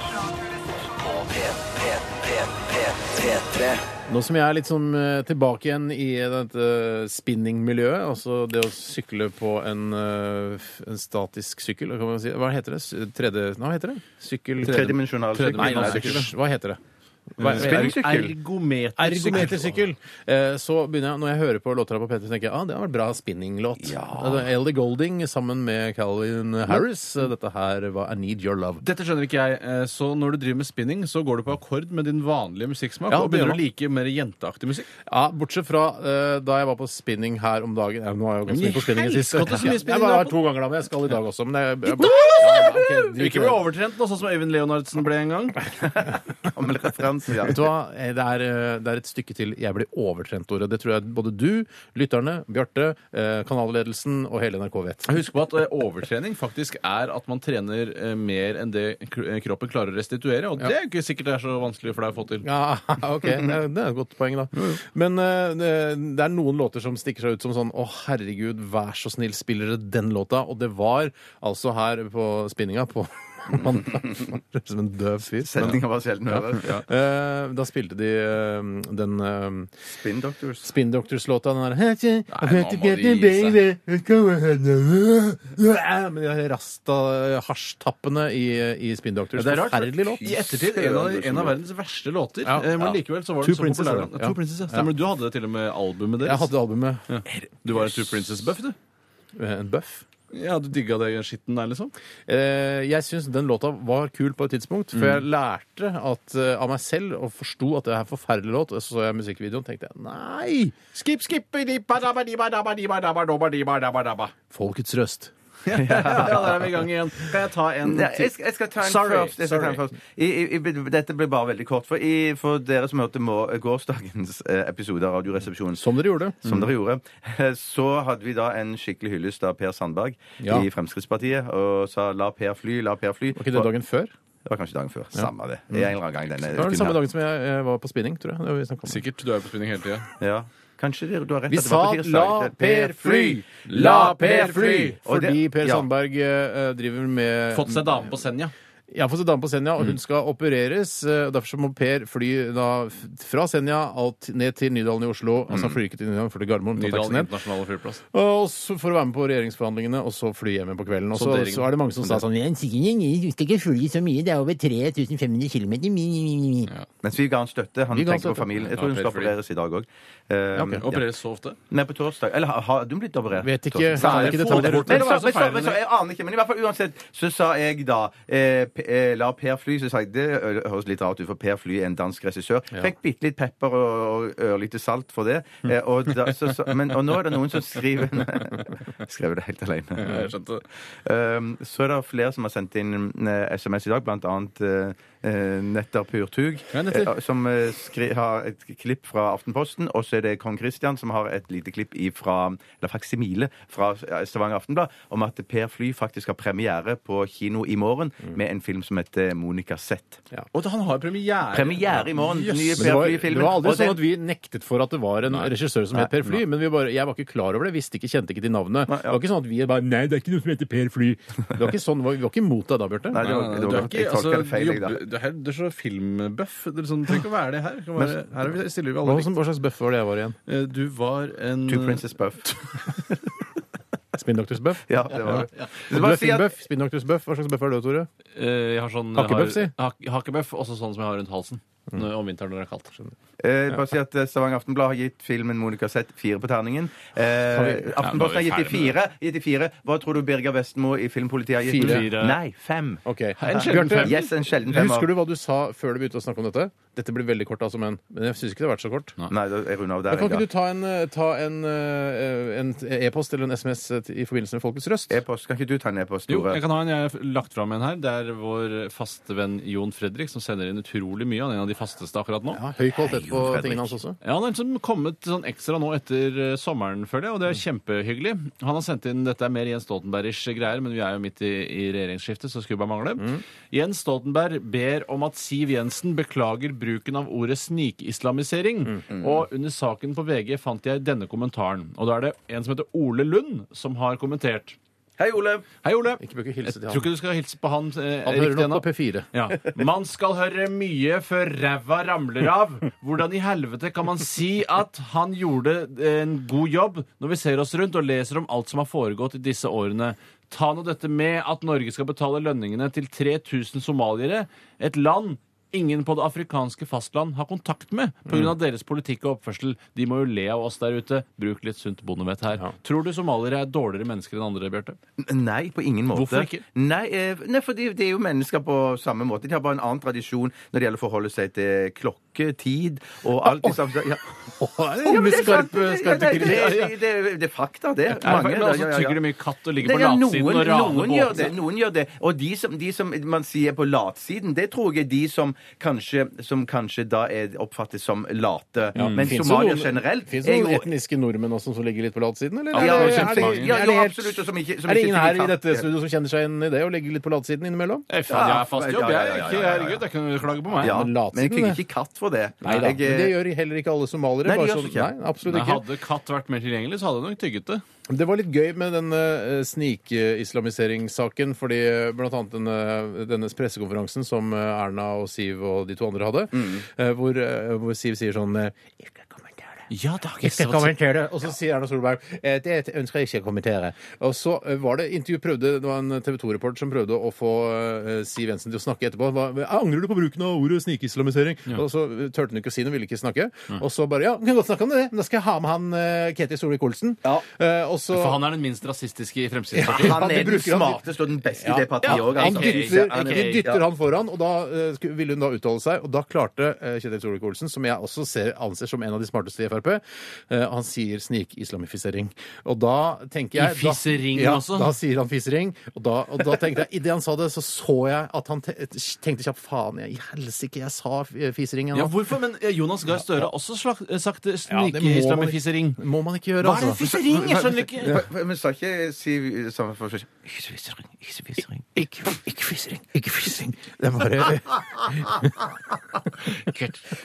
B: på P, P, P, P, P3.
C: Nå som jeg er litt sånn eh, tilbake igjen i dette spinningmiljøet, altså det å sykle på en, eh, f- en statisk sykkel, kan man si. Hva heter det? S- Tredje... Hva heter det? Sykkel...
E: Tredimensjonal
C: Tredje- Nei, nei,
E: sykkel.
C: sykkel. Hva heter det? Hva-
D: Eh,
E: Spinningsykkel.
C: Ergometersykkel. Eh, Så begynner jeg, når jeg hører på låter på P3, så tenker jeg ah, det har vært bra spinninglåt. Ja. Ellie Golding sammen med Calvin Harris. Eh, Dette her var I Need Your Love.
D: Dette skjønner ikke jeg. eh, Så når du driver med spinning, så går du på akkord med din vanlige musikksmak
C: Ja,
D: og
C: det gjør
D: begynner
C: man.
D: å like mer jenteaktig musikk.
C: Ja, Bortsett fra eh, da jeg var på spinning her om dagen. Ja, nå har jeg jo ganske mye på spinning i sist.
D: Helskotte, så mye
C: Ja, jeg bare
D: spinning du har
C: vært to ganger da, men jeg skal i dag også. Men jeg, jeg, ok, drit
D: Ikke
C: i det.
D: bli overtrent nå, sånn som Øyvind Leonardsen ble en gang.
E: Gammel referanse. Ja.
C: Vet du hva? Eh, Det er, eh, det er et stykke til jeg blir overtrent, Tore. Det tror jeg både du, lytterne, Bjarte, eh, kanalledelsen og hele NRK vet.
D: Husk på at eh, overtrening faktisk er at man trener eh, mer enn det kro- eh, kroppen klarer å restituere, og det er jo ikke sikkert det er så vanskelig for deg å få til.
C: Ja, [laughs] ok, det er, det er et godt poeng, da. Men eh, det det er noen låter som stikker seg ut som sånn Å, herregud, vær så snill, spiller dere den låta? Og det var altså her på spinninga på mandag. Det er Som en døv fyr. Men,
E: Setninga var sjelden hører. Ja.
C: eh, da spilte de eh, den eh,
E: Spin Doctors.
C: Spin Doctors-låta, den der Nei,
D: nå må de gi seg.
C: Men de der rasta-hasjtappene i, eh, i Spin Doctors.
D: Det er rart.
C: Forferdelig låt.
D: I ettertid en av, en av verdens verste låter.
C: Ja.
D: eh, Men
C: Ja.
D: likevel så var
C: Two
D: den så
C: Princes,
D: populær.
C: da.
D: Ja. Two Princes, ja. Stemmer. det. Du hadde til og med albumet
C: Jeg
D: deres.
C: hadde albumet
D: Du var en Two Princes-buff, du.
C: eh, En Buff.
D: Ja, Du digga det skitten der, liksom?
C: Eh, jeg syns den låta var kul på et tidspunkt, for
D: Mm.
C: jeg lærte at, eh, av meg selv og forsto at det er en forferdelig låt. Og så så jeg musikkvideoen og tenkte jeg, nei!
D: Skip, skip, ba-da-ba-di-ba-da-ba-di-ba-da-ba-do-ba-di-ba-da-ba-da-ba.
C: Folkets røst.
D: Ja, der er vi i gang igjen. Kan jeg ta
C: Mm,
D: en
E: Ja, jeg, skal, jeg skal ta en
D: Sorry,
E: først. Jeg skal ta en
D: sorry.
E: først. I, i, i, dette blir bare veldig kort. For, i, for dere som hørte må, gårsdagens eh, episode av Radioresepsjonen, som,
C: Som Mm. dere gjorde.
E: dere gjorde, [laughs] så hadde vi da en skikkelig hyllest av Per Sandberg
C: Ja.
E: i Fremskrittspartiet og sa 'la Per fly, la Per fly'.
C: Var ikke det dagen før?
E: Det var kanskje dagen før. Samme det. En eller annen gang denne
C: Det var den
E: uken
C: samme
E: her.
C: dagen som jeg eh, var på spinning, tror jeg. Det var vi snakket om.
D: Sikkert. Du er jo på spinning hele tida.
E: Ja. Kanskje det, du har rett.
C: Vi
E: at det var
C: sa
E: på tirsdag.
C: 'la Per fly'! La Per fly!
E: Og det-
C: Fordi Per
E: ja.
C: Sandberg eh, driver med
D: Fått seg dame på Senja.
C: Jeg har fått en dame på Senja, og hun skal opereres. eh, og Derfor så må Per fly da f- fra Senja alt ned til Nydalen i Oslo. Altså han flyr ikke til Nydalen, for til Gardermoen. tar taxi
D: Nydalen
C: ned.
D: internasjonale flyplass.
C: Og så for å være med på regjeringsforhandlingene, og så fly hjem igjen på kvelden. Og så,
D: dere-
C: så er det mange som sa sånn Jeg skal ikke fly så mye, det er over 3500 km.
E: Mens vi ga han støtte. Han
C: Vi ga han
E: tenker på
C: støtte.
E: familien. Jeg
D: Ja,
E: tror hun skal
D: Per fly.
E: opereres i dag òg.
D: Mm. Opererer så ofte.
E: Nei, på torsdag. Eller har- har du blitt operert?
C: Vet ikke.
E: Torsdag.
C: Kan ikke detaljer.
E: Men, så,
D: Hva er det som
E: men, så,
D: feiler
E: men så, jeg aner ikke, men i hvert fall uansett så sa jeg da eh, P- eh, La Per fly, så sa jeg det ø- høres litt rart ut, for Per Fly er en dansk regissør. Fikk bitte litt pepper og, og ørlite salt for det. Eh, og, da, så, så, men, og nå er det noen som skriver Skrev det helt alene.
D: Jeg skjønte det.
E: Um, så er det flere som har sendt inn eh, SMS i dag, blant annet eh, eh, Netter Purtug,
C: Ja, Netter.
E: eh, som eh, skri, har et klipp fra Aftenposten. Og så er det Kong Christian som har et lite klipp i fra, eller faksimile fra eh, Stavanger Aftenblad om at Per Fly faktisk har premiere på kino i morgen
C: Mm.
E: med en film som heter Monica Z.
D: Og han har premiere.
E: Premiere i morgen! den Nye
C: Men det
E: Per
C: var,
E: Fly-filmen.
C: det var aldri
E: Og den-
C: sånn at vi nektet for at det var en regissør som het Per Fly, men vi bare, jeg var ikke klar over det. Visste ikke, kjente ikke til navnet.
E: Nei, ja.
C: Det var ikke sånn at vi bare Nei, det er ikke noe som heter Per Fly. Det var ikke sånn, vi var ikke imot deg da, Bjarte.
E: Nei, det var, det
D: Du
E: var,
D: er ikke,
E: jeg
D: altså,
E: tolker det feil, jeg, da.
D: du, du, er, du er så filmbuff. Det er Liksom, du trenger ikke å være det her. Det Kan være, her er vi, stiller vi alle
C: Hva,
D: likt.
C: som- hva slags bøff var det jeg var igjen?
D: Eh, Du var en
E: Two Princess
C: [laughs]
E: Buff.
C: Spinndoktorsbøff?
E: Ja, det var det. Så
C: Du
E: bare
C: er
E: si at-
C: filmbøff. Spinndoktorsbøff. Hva slags bøff er det, Tore?
D: Eh, Jeg har sånn
C: Hakkebøff, si. Mm.
D: har- hak- Hakkebøff, også sånn som jeg har rundt halsen når- om vinteren når det er kaldt.
E: Eh, bare si at eh, Stavanger Aftenblad har gitt filmen Monica Z fire på terningen. Eh, Aftenposten har gitt de fire. Gitt de fire. Hva tror du Birger Vestmo i Filmpolitiet har gitt?
D: Fire.
E: Fire. Nei, fem.
C: Ok.
D: En sjelden
C: Bjarte,
E: Yes, en sjelden femmer.
C: Husker du hva du sa før du begynte å snakke om dette? Dette blir veldig kort, altså, men, men jeg syns ikke det har vært så kort.
E: Nei, da- jeg runder av
C: Da
E: der.
C: kan ikke
E: jeg,
C: du ta en eh, ta en, eh, en e-post eller en SMS eh, i forbindelse med Folkets Røst?
E: da. E-post. Kan ikke du ta en e-post,
D: Jo, jeg
E: Tore?
D: kan ha en. Jeg har lagt fram en her. Det er vår faste venn Jon Fredrik som sender inn utrolig mye. Han er en av de fasteste akkurat nå.
C: Ja, høy kvalitet på
E: Fredrik.
C: tingene hans også.
D: Ja, Han har liksom kommet sånn ekstra nå etter eh, sommeren, føler jeg, og det
C: Mm.
D: er kjempehyggelig. Han har sendt inn Dette er mer Jens Stoltenberg-ish greier, men vi er jo midt i, i regjeringsskiftet, så skulle bare mangle.
C: Mm.
D: Jens Stoltenberg ber om at Siv Jensen beklager bruken av ordet snikislamisering.
C: Mm,
D: Og under saken på VG fant jeg denne kommentaren. Og da er det en som heter Ole Lund, som har kommentert.
E: Hei, Ole.
D: Hei, Ole.
C: Ikke bruke hilse til
D: jeg
C: han.
D: tror ikke du skal hilse på han. Eh,
C: Han hører
D: riktig
C: nok
D: ennå.
C: på P4.
D: Ja. Man skal høre mye før ræva ramler av. Hvordan i helvete kan man si at han gjorde eh, en god jobb, når vi ser oss rundt og leser om alt som har foregått i disse årene? Ta nå dette med at Norge skal betale lønningene til 3000 somaliere. Et land ingen på det afrikanske fastland har kontakt med pga.
E: Mm.
D: av deres politikk og oppførsel. De må jo le av oss der ute. Bruk litt sunt bondevett her.
C: Ja.
D: Tror du somaliere er dårligere mennesker enn andre, Bjarte?
E: Nei, på ingen måte.
D: Hvorfor ikke?
E: Nei, eh, nei fordi det er jo mennesker på samme måte. De har bare en annen tradisjon når det gjelder å forholde seg til klokke, tid og alt det samme. Ja. Ja, men det er sant. Ja, det, det, det, det, det er fakta, det.
D: [laughs]
E: Mange,
D: men altså, tygger de mye katt og ligger på
E: Nei, ja,
D: latsiden og raner
E: noen
D: båten
E: gjør det,
D: sin?
E: noen gjør det. Og de som, de som man sier på latsiden, det tror jeg er de som kanskje, som kanskje da er oppfattes som late. Men somalier generelt
C: Fins
E: er
C: det
E: jo
C: noen etniske nordmenn også som ligger litt på latsiden, eller?
D: Ja,
C: Er det-
D: det er
C: er det-
D: kjempemange.
E: Ja,
C: er det
E: jo,
C: helt-
E: absolutt, og som ikke- som
C: Er det
E: ikke
C: ingen her
E: fikk
C: i
E: tatt-
C: dette studioet som kjenner seg igjen i det, å ligge litt på latsiden innimellom?
D: Eh, faen, jeg er fast i jobb, jeg.
E: Ja, ja,
D: er
E: ja,
D: Ikke,
E: ja, ja, ja.
D: herregud, det kan du klage på meg.
E: Ja,
C: Men
E: men jeg
C: latsiden,
E: fikk
C: det.
E: ikke katt for det.
C: Nei da.
E: Jeg,
C: Men det
E: eh,
C: gjør heller ikke alle somaliere.
E: Nei, de
C: bare
E: gjør
C: sånn,
E: ikke det.
C: nei, absolutt
D: Men
C: ikke.
D: hadde katt vært mer tilgjengelig, så hadde jeg nok tygget det.
C: Det var litt gøy med den uh, snikislamiseringssaken, fordi eh, blant annet denne, denne pressekonferansen som eh, Erna og Siv og de to andre hadde,
D: Mm.
C: eh, hvor, eh, hvor Siv sier sånn eh, Ikke kommentere det.
D: Ja, det har
C: Ikke kommentere det. Og så sier Erna Solberg eh, det ønsker jeg ikke å kommentere. Og så eh, var det intervju prøvde, Det var en TV 2-reporter som prøvde å få eh, Siv Jensen til å snakke etterpå. Hva, angrer du på bruken av ordet snikislamisering? Og så eh, turte hun ikke å si noe, ville ikke snakke. Og så bare Ja, vi kan godt snakke om det, men da skal jeg ha med han eh, Ketil Solvik-Olsen.
E: Ja.
C: Eh, og så
D: For han er den minst rasistiske i Fremskrittspartiet.
E: Han
C: Ja,
E: er
C: det
E: den
C: bruker han.
E: smarteste og den beste i det partiet òg.
C: Han
E: altså.
C: dytter,
E: Ja,
C: de dytter han foran, og da eh, sku- ville hun da uttale seg. Og da klarte eh, Kjetil Solvik-Olsen, som jeg også ser, anser som en av de smarteste i Frp, eh, han sier snikislamifisering. Og da tenker jeg da-
D: Ifisering
C: ja,
D: også?
C: Da sier han fisering. Og da, og da tenkte jeg, idet han sa det, så så jeg at han te tenkte kjapt faen, jeg i helsike, jeg sa f- fisering.
D: Ja,
C: ennå."
D: hvorfor? Men eh, Jonas Gahr Støre har også slag, eh, sagt eh,
C: Ja, det må man-
D: snikislamisering.
C: Må man ikke gjøre,
D: Hva er det
C: altså.
D: fissering? Jeg skjønner ikke.
E: Ja. Men- Men sa ikke Siv samme forskjell? Ikke fissering, ikke fissering.
C: Ikke, ikke fisering, ikke fisering. Det eh, er bare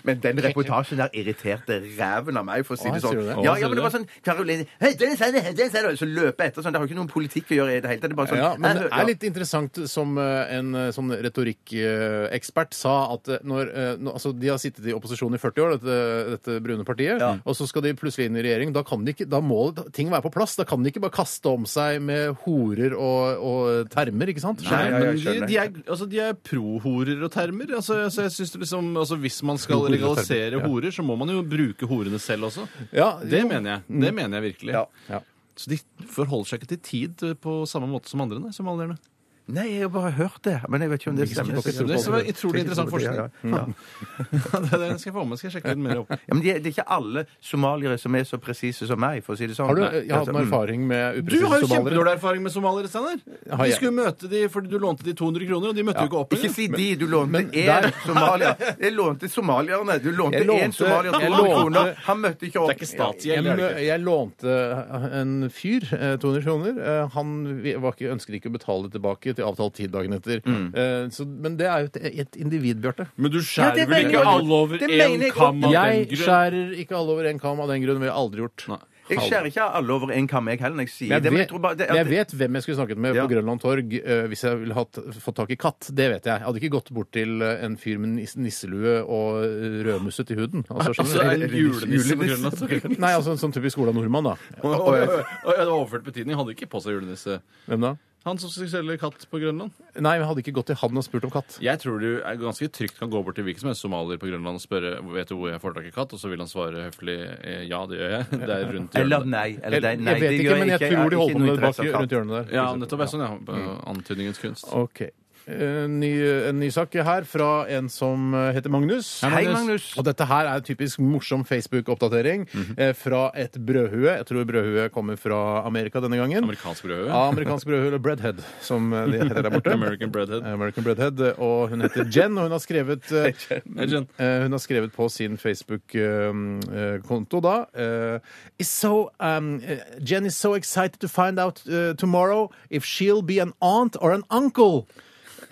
E: Men den reportasjen der irriterte ræven av meg, for å si
C: Å,
E: det
C: sier
E: sånn.
C: du det?
E: Ja,
D: Å,
E: ja, men det
D: sier
E: var sånn Karoline «Hei, den sa det, den sa det», Så løpe etter sånn. Det har jo ikke noen politikk å gjøre i det hele tatt. Det er bare sånn
C: Ja,
D: Eh,
C: men det
E: «Nei,
C: er litt interessant som eh, en eh, sånn retorikkekspert sa at eh, når eh, nå- Altså, de har sittet i opposisjon i 40 år, dette, dette brune partiet, og så skal de plutselig inn i regjering. Da, kan de ikke, da må ting være på plass. Da kan de ikke bare kaste om seg med horer og, og termer, ikke sant?
E: Nei, ja, ja,
D: men
E: jeg
D: de,
E: skjønner.
D: de er, altså, de er prohorer og termer. Altså, jeg- så jeg synes det liksom, altså, hvis man skal
C: Prohorer og termer,
D: legalisere
C: ja.
D: horer, så må man jo bruke horene selv også.
C: Ja,
D: Det
C: jo. Mm.
D: mener jeg. Det mener jeg virkelig.
E: Ja.
C: Ja.
D: Så de forholder seg ikke til tid eh, på samme måte som andre, nei, somalierne.
E: Nei, jeg har bare hørt det. Men jeg vet ikke om det stemmer.
D: Det er så utrolig interessant forskning.
E: Ja, ja. Ja.
D: [laughs] det, det skal jeg få med, skal jeg sjekke den mer opp.
E: Ja, men det, det er ikke alle somaliere som er så presise som meg, for å si det sånn.
C: Har du
E: Nei.
C: eh, jeg har hatt noen erfaring med
D: altså, mm. Du har
C: upresise
D: jo
C: somaliere?
D: kjempedårlig erfaring med somaliere, Steinar.
C: Har
D: De
C: jeg?
D: skulle møte de, fordi du lånte de 200 kroner, og de møtte jo ikke opp
E: Ikke
D: engang.
E: si de, du lånte én somalier. Jeg lånte somalierne. Du lånte
C: Jeg lånte-
E: én somalier
C: jeg
E: 200
C: lånte-
E: kroner. Han møtte ikke opp.
D: Det er ikke statsgjeld.
C: Jeg,
D: det er det
C: mø-
D: ikke.
C: jeg lånte en fyr eh, 200 kroner. Eh, Han vi- var ikke, ønsket ikke å betale tilbake til avtalt tid dagen etter. Eh, Så, men det er jo et, et individ, Bjarte.
D: Mm. Men du skjærer
E: det
D: vel
E: mener
D: ikke
E: jeg.
D: alle over
E: Det mener
D: én
E: jeg
D: kam
E: godt.
D: av den
C: Jeg
D: grunn?
C: skjærer ikke alle over en kam av den grunn. Vi har jeg aldri gjort.
D: Nei.
E: Jeg skjærer ikke alle over en kam, jeg heller. når Jeg sier
C: Men jeg,
E: det, men
C: vet,
E: jeg tror bare det,
C: men jeg vet hvem jeg skulle snakket med
E: Ja.
C: på Grønland Torg eh, hvis jeg ville hatt, fått tak i katt. Det vet jeg. Jeg hadde ikke gått bort til eh, en fyr med nis- nisselue og eh, rødmusset i huden.
E: [laughs]
C: Altså,
D: Altså,
C: skjønner
D: en
C: du?
D: julenisse på Grønland. så-
C: Nei, altså en sånn typisk Ola Nordmann,
E: [laughs]
C: da.
D: Oi, oi, oi. Oi, Det var overført betydning. Han Hadde ikke på seg julenisse.
C: Hvem da?
D: Han som skal selge katt på Grønland.
C: Nei, jeg hadde ikke gått til han og spurt om katt.
D: Jeg tror du er ganske trygt kan gå bort til hvilken som helst somalier på Grønland og spørre vet du hvor jeg får tak i katt, og så vil han svare høflig eh, ja, det gjør jeg. [laughs] Det er rundt
E: Eller
D: hjørnet.
E: nei. Eller nei, nei
C: jeg vet
E: det
C: ikke,
E: gjør
C: men jeg
E: har
C: tror de holder
E: ikke
C: på med
E: noe
C: det bak
E: interesse av
C: rundt
E: katt.
C: hjørnet der.
D: Ja, nettopp. er Sånn, ja. på Antydningens kunst.
C: Ok. Eh, Ny, en ny sak her fra en som heter Magnus.
E: Hei, Magnus.
C: Og dette her er en typisk morsom Facebook-oppdatering
D: Mhm.
C: eh, fra et brødhue. Jeg tror brødhue kommer fra Amerika denne gangen.
D: Amerikansk brødhue.
C: Ja, amerikansk brødhue, eller breadhead, som eh, de heter der borte.
D: [laughs] American breadhead.
C: American breadhead. Og hun heter Jen, og hun har skrevet eh,
D: Hei, Jen.
C: eh, Hun har skrevet på sin Facebook-konto da eh, is so, um, eh, Jen is so excited to find out eh, tomorrow if she'll be an aunt or an uncle.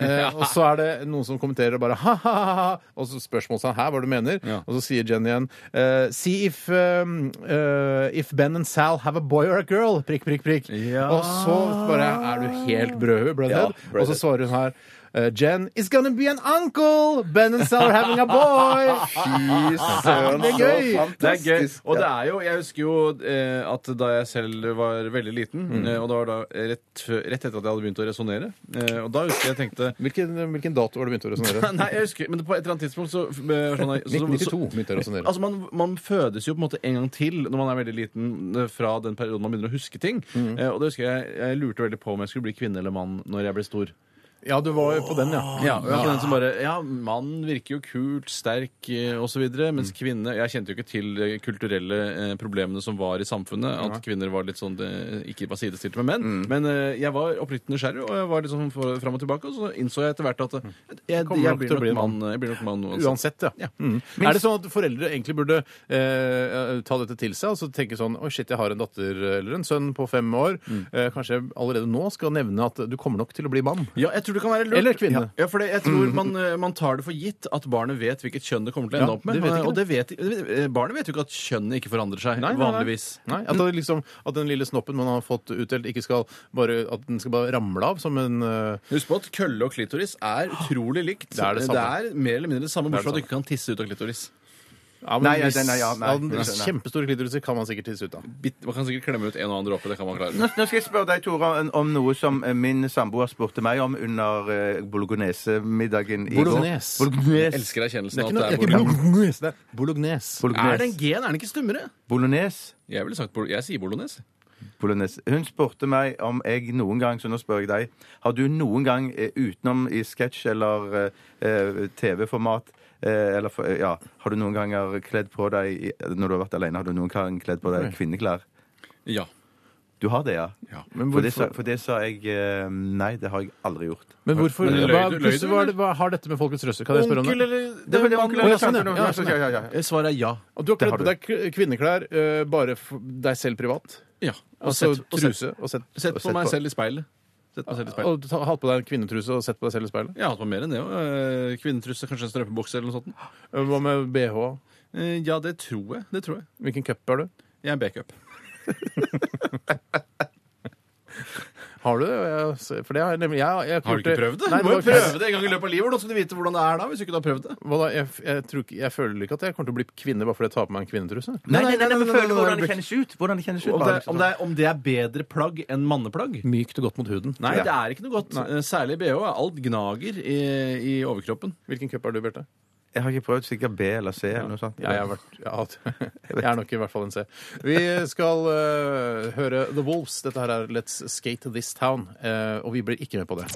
C: Eh, og så er det noen som kommenterer bare ha-ha-ha, og så spørsmålstegn her, hva du mener.
D: Ja.
C: Og så sier Jen igjen eh, See if, um, eh, if Ben and Sal have a boy or a girl. Prikk, prikk, prikk. Og så bare er du helt brødhue, Brødhead.
E: Ja, Brødhead.
C: og så svarer hun her Eh, Jen is gonna be an uncle! Ben and Sal are having a boy!
E: [laughs] Fy
C: Ah,
E: søren, altså.
C: Det er gøy.
D: altså.
E: så
D: Det er gøy.
E: fantastisk.
D: Og det er jo, jeg husker jo eh, at da jeg selv var veldig liten, eh, og det var da rett, før- rett etter at jeg hadde begynt å resonnere, eh, og da husker jeg tenkte
C: Hvilken, hvilken dato var det begynte å resonnere?
D: [laughs] Nei, jeg husker, men på et eller annet tidspunkt så, eh, sånn, så, så,
C: 1992 begynte jeg å resonnere.
D: Altså, man, man fødes jo på en måte en gang til når man er veldig liten, eh, fra den perioden man begynner å huske ting.
C: Mm.
D: Eh, og det husker jeg, jeg lurte veldig på om jeg skulle bli kvinne eller mann når jeg ble stor.
C: Ja, du var jo på den, ja.
D: Ja, og jeg er på den som bare, ja, mann virker jo kult, sterk eh, og så videre, mens
C: Mm.
D: kvinne Jeg kjente jo ikke til de kulturelle eh, problemene som var i samfunnet. At kvinner var litt sånn eh, ikke var sidestilt med menn.
C: Mm.
D: Men eh, jeg var oppriktig nysgjerrig, og jeg var litt sånn for- fram og tilbake. Og så innså jeg etter hvert at eh, jeg,
C: Mm. Kommer
D: jeg,
C: nok til å
D: blir
C: bli en
D: nok mann. Jeg blir nok mann uansett.
C: Uansett, ja. Mm. Er det sånn at foreldre egentlig burde eh, ta dette til seg og så tenke sånn Oi, shit, jeg har en datter eller en sønn på fem år. Eh, kanskje jeg allerede nå skal nevne at du kommer nok til å bli mann.
D: Ja, jeg tror det kan være lurt.
C: Eller kvinne. Mm.
D: Ja, for det, jeg tror man, eh, man tar det for gitt at barnet vet hvilket kjønn det kommer til å ende
C: Ja,
D: opp med.
C: det vet ikke
D: og det vet, eh, barnet vet jo ikke at kjønnet ikke forandrer seg, vanligvis.
C: Nei, at, det liksom, at den lille snoppen man har fått utdelt, ikke skal bare, at den skal bare ramle av som en eh,
D: Husk på at kølle og klitoris er utrolig likt.
C: Det er det samme.
D: er mer eller mindre det samme,
C: Det er det
D: bortsett fra at du ikke kan tisse ut av klitoris.
C: ja, men
E: Nei, ja,
C: hvis-
E: den er- ja, nei,
C: ja, den-
E: den skjønner jeg.
C: Kjempestore klitoriser kan man sikkert tisse ut av.
D: Bitt- Man kan sikkert klemme ut en og annen dråpe. Det kan man
E: Nå
D: klare.
E: nå skal jeg spørre deg, Tore, om- om noe som eh, min samboer spurte meg om under eh, bolognese-middagen i går.
C: Bolognese?
D: Jeg
E: Bolognese.
D: elsker erkjennelsen
C: Det er
D: av
C: ikke noe
D: at
C: det er
D: det er
C: ikke
D: bolognese.
C: bolognese. Det er bolognese.
D: Er det
E: Bolognese.
D: en gen? Er den ikke stummere?
E: Bolognese.
D: Jeg ville sagt bolo- Jeg sier bolognese.
E: Bolognese. Hun spurte meg om jeg noen gang, så nå spør jeg deg, har du noen gang eh, utenom i sketsj eller eh, eh, TV-format eh, eller, for- eh, ja, Har du noen ganger kledd på deg i- når du har vært alene, har du noen gang kledd på deg kvinneklær?
D: Ja.
E: Du har det, ja?
D: Ja,
E: for, det sa, for det sa jeg eh, Nei, det har jeg aldri gjort.
C: Men hvorfor
D: Men løy du-
C: hva,
D: løy du,
C: plutselig, hva, er det- hva
D: eller?
C: har dette med folkets røster? Kan jeg spørre om det?
E: Det var det onkel eller
C: sånn, ja.
E: tante,
C: Ja,
E: ja,
C: sånn,
E: ja, ja, ja.
D: Eh, Svaret er ja.
C: Og du har
E: Det
C: kledd
E: har
C: på deg k- kvinneklær eh, bare for deg selv privat?
D: ja. Og
C: Altså
D: sett- og sett-
C: truse og sett,
D: Sett
C: og
D: på
C: sett
D: meg selv i speilet. Sett meg selv i speilet.
C: Og ta- hatt på deg en kvinnetruse og sett på deg selv i speilet?
D: Jeg har hatt på mer enn det jo. Eh, Kvinnetruse, kanskje en strømpebukse eller noe sånt.
C: Eh, Hva med bh?
D: Eh, Ja, det tror jeg. Det tror jeg.
C: Hvilken cup er du?
D: Jeg er backup.
C: Har du det? Jeg ser- For det har jeg nemlig jeg, jeg,
D: Har du
C: gjort
D: ikke prøvd det?
C: Nei,
D: du må jo
C: var ikke-
D: prøve det en gang i løpet av livet. Hvordan skal du vite hvordan det er da? hvis du ikke har prøvd det?
C: Hva da? Jeg, f- jeg, tror ikke, jeg føler ikke at jeg kommer til å bli kvinne bare fordi jeg tar på meg en kvinnetruse.
E: Nei, nei, nei, nei,
D: nei,
E: men
D: nei,
E: føler
D: nei,
E: hvordan
D: nei,
E: det kjennes ut. Hvordan det kjennes ut.
D: Om
E: bare
D: det,
E: liksom
D: om, det er, om det er bedre plagg enn manneplagg?
C: Mykt og godt mot huden.
D: Nei, det er ikke noe godt. Eh, Særlig BH. er Alt gnager i, i overkroppen.
C: Hvilken cup er du, Bjarte?
E: Jeg har ikke prøvd sikkert B eller C eller noe sånt.
C: Jeg, har vært, [laughs] jeg, har hatt- jeg er nok i hvert fall en C. Vi skal eh, høre The Wolves. Dette her er Let's Skate This Town. eh, og vi blir ikke med på det.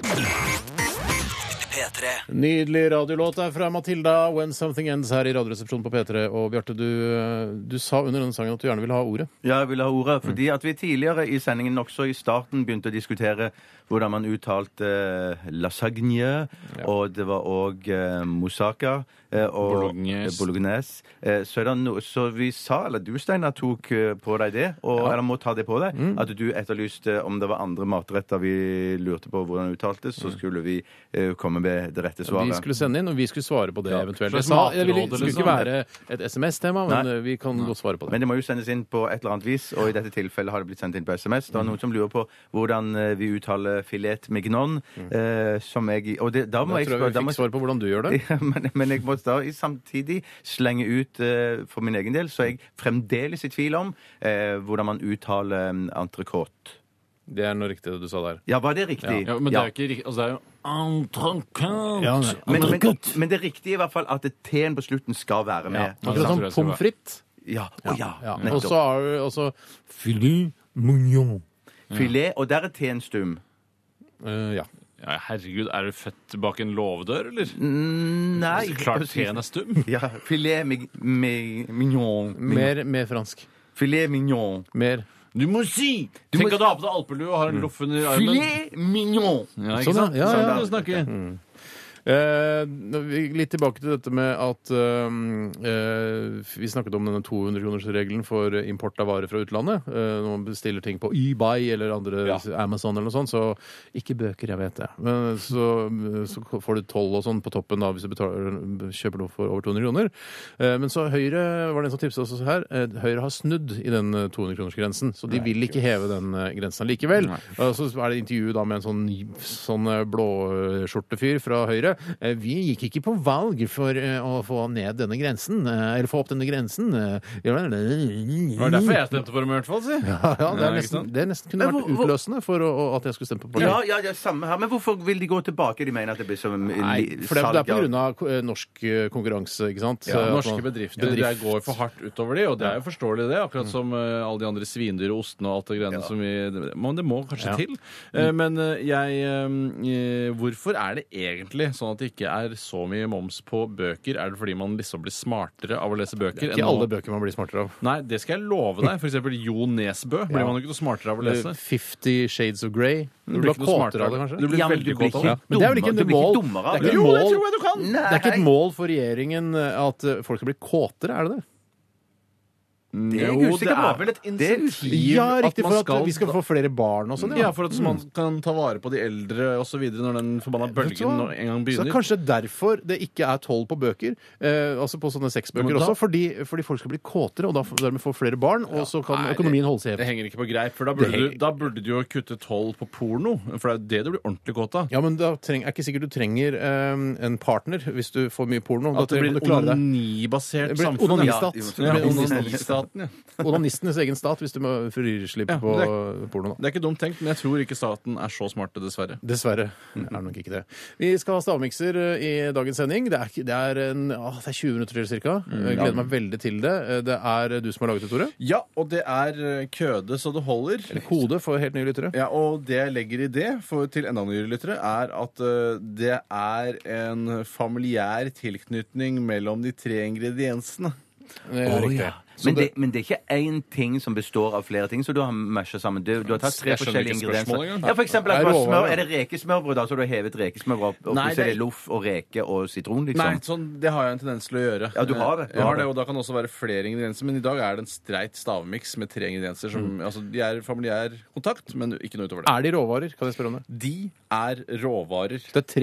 B: P3.
C: Nydelig radiolåt er fra Matilda, 'When Something Ends', her i Radioresepsjonen på P3. Og Bjarte, du, eh, du sa under denne sangen at du gjerne ville ha ordet.
E: Ja, jeg ville ha ordet, fordi at vi tidligere i sendingen også i starten begynte å diskutere hvordan man uttalte eh, lasagne, og det var òg eh, moussaka eh, og
D: Bolognese.
E: bolognese. Eh, så, er det no, så vi sa, eller du Steinar tok eh, på deg det, og, eller må ta det på deg, at du etterlyste om det var andre matretter vi lurte på hvordan det uttales, så skulle vi eh, komme med det rette
C: Vi
E: svaret.
C: skulle sende inn, og vi skulle svare på det
E: Ja.
C: eventuelt. Jeg
D: Slags
C: sa, jeg ville,
D: matråd,
C: det skulle ikke være et SMS-tema, men eh, vi kan godt svare på det.
E: Men det må jo sendes inn på et eller annet vis, og i dette tilfellet har det blitt sendt inn på SMS.
C: Mm.
E: Det er noen som lurer på hvordan eh, vi uttaler filet mignon, eh, som jeg Og det, da
C: Mm.
E: må
C: Da
E: jeg
C: tror
E: spørre
C: jeg
E: da
C: vi fikk
E: må jeg-
C: svar på hvordan du gjør det.
E: [laughs] ja, men, men jeg må da i- samtidig slenge ut eh, for min egen del, så er jeg fremdeles i tvil om eh, hvordan man uttaler um, entrecôte.
C: Det er noe riktig det du sa der.
E: Ja, var det riktig?
D: Ja, men det er jo ikke riktig. Altså, det er jo entrecôte.
C: Ja, nei.
E: men, men, men det riktige er i hvert fall at T-en på slutten skal være med.
D: Ja.
C: Akkurat
D: tror
C: som
D: jeg skal
C: pommes frites.
E: Ja, å ja,
C: Ja. Og så
E: nettopp.
C: har du også filet mignon.
E: Filet, og der er T-en stum.
C: Eh, ja.
D: Ja, herregud, er du født bak en låvedør, eller?
E: Nei.
D: Klart T-en er stum.
E: Ja, filet mig, mig, mignon.
C: Mer, mer fransk.
E: Filet mignon.
C: Mer.
D: Du må si! Tenk at du har på deg alpelue og har en loff under armen.
E: Filet mignon.
C: Sånn,
D: Ja, ikke sant?
C: ja, ja,
D: Sånn
C: ja.
D: kan du snakke.
C: Eh, nå- vi- litt tilbake til dette med at eh, eh, vi snakket om denne 200-kronersregelen for import av varer fra utlandet. Eh, når man bestiller ting på eBay eller andre Amazon eller noe sånt, så ikke bøker, jeg vet det. Men så, så får du toll og sånn på toppen da hvis du betaler, kjøper noe for over 200 kroner. Eh, men så Høyre var det en som tipset oss her. eh, Høyre har snudd i den eh, 200-kronersgrensen, så de vil ikke heve den eh, grensen likevel. Og så er det intervju da med en sånn, sånn eh, blåskjortefyr fra Høyre. Eh, Vi gikk ikke på valg for eh, å få ned denne grensen, eh, eller få opp denne grensen. eh. Det var
D: Det var derfor jeg stemte for dem, i hvert fall. si.
C: Ja, ja, det,
D: Ja,
C: er
D: ikke
C: nesten,
D: sant?
C: det er nesten kunne
E: Men
C: vært
E: hvor- hvor-
C: utløsende for å, å- at jeg skulle stemme på partiet.
E: Ja, ja, det er samme her. Men hvorfor vil de gå tilbake? De mener at det blir som
C: Nei, for det, det er på grunn av eh, norsk eh, konkurranse, ikke sant?
D: Ja,
C: Eh, at
D: norske
C: man-
D: bedrifter
C: Bedrift.
D: det går for hardt utover de, og det er jo forståelig, det.
C: Mm.
D: Akkurat som eh, alle de andre svindyr og ostene og alt det greiene som vi Men det må kanskje
C: Ja. Mm.
D: til. Eh, men eh, jeg eh, eh, Hvorfor er det egentlig sånn at det ikke er så mye moms på bøker? Er det fordi man liksom blir smartere av å lese bøker?
C: Ikke alle bøker man blir smartere av.
D: Nei, det skal jeg love deg. For eksempel Jo Nesbø blir
C: Ja.
D: man jo ikke noe smartere av å lese.
C: Eh, Fifty Shades of Grey. Du blir
D: ikke noe
C: kåtere
D: smartere
C: av det, kanskje?
D: Du blir
E: Ja, men
D: veldig
E: du blir
D: kåt av
E: ikke
D: det.
C: Ja, men det er vel ikke
E: Dummere- du
C: et
E: blir ikke
C: mål
E: dummere av
C: Det er ikke et
E: det. Jo,
C: mål-
D: du kan!
C: Det er ikke et mål for regjeringen eh, at eh, folk skal bli kåtere, er det det?
E: Det er Mm. jeg
D: Jo, det
E: usikker på.
D: er vel et
E: Det er
D: insentiv
E: usikker.
C: Ja,
D: at
C: riktig,
D: man
C: for at vi skal få flere barn og sånn.
D: Ja, for at man kan ta vare på de eldre og så videre når den forbanna
C: Vet du hva?
D: bølgen når en gang
C: Så det er
D: begynner.
C: kanskje derfor det ikke er toll på bøker, eh, altså på sånne sexbøker
D: Men da-
C: også, fordi, fordi folk skal bli kåtere og da f- dermed få flere barn, og så kan
D: Nei,
C: økonomien holde seg
D: Det
C: hjemme.
D: henger ikke på greip, for da burde,
C: henger
D: du, da burde du jo kutte toll på porno. For det er jo det du blir ordentlig kåt av.
C: Ja, men da treng, er ikke sikkert du trenger eh, en partner hvis du får mye porno. Da
D: At det
C: trenger
D: blir
C: du
D: et
C: klare deg.
D: onanibasert
C: Det blir et
D: samfunn.
C: onanistat.
D: Ja,
C: Det blir
D: onanistaten, ja.
C: Onanistenes egen stat hvis du må frier slipp
D: Ja,
C: på
D: det
C: eh, porno. da.
D: Det er ikke dumt tenkt, men jeg tror ikke staten er så smarte, dessverre.
C: Dessverre er det nok ikke det. Mm. Vi skal ha stavmikser eh, i dagens sending. Det er, ikke- det er, en, ah, det er 20 minutter til ca. Jeg gleder meg veldig til det. Eh, Det er du som har laget det, Tore.
D: Ja, og det er eh, køde så det holder.
C: Kode for helt nye lyttere.
D: Ja, og det jeg legger i det for, til enda nyere lyttere, er at eh, det er en familiær tilknytning mellom de tre ingrediensene.
C: Eh, Det er riktig.
E: Men det, men det er ikke én ting som består av flere ting, så du har masha sammen. Du, du har tatt tre
D: Jeg skjønner
E: forskjellige
D: ikke spørsmålet
E: ingredienser.
D: engang.
E: Ja, for eksempel at
C: Er
E: du
C: det
E: har smør,
C: over, ja?
E: er det rekesmørbrød, da? Så du har hevet rekesmørbrød opp, og
D: Nei,
E: så er
D: det
E: det
D: er-
E: loff og reke og sitron,
D: Nei,
E: liksom?
D: sånn, det har jeg en tendens til å gjøre.
E: Ja, du har det.
D: Jeg har det, og Da kan det også være flere ingredienser, men i dag er det en streit stavmiks med tre ingredienser. Som,
E: Mm.
D: altså, de er familiær kontakt, men ikke noe utover det.
C: Er de råvarer? Kan jeg spørre om det?
D: De er råvarer.
C: Det er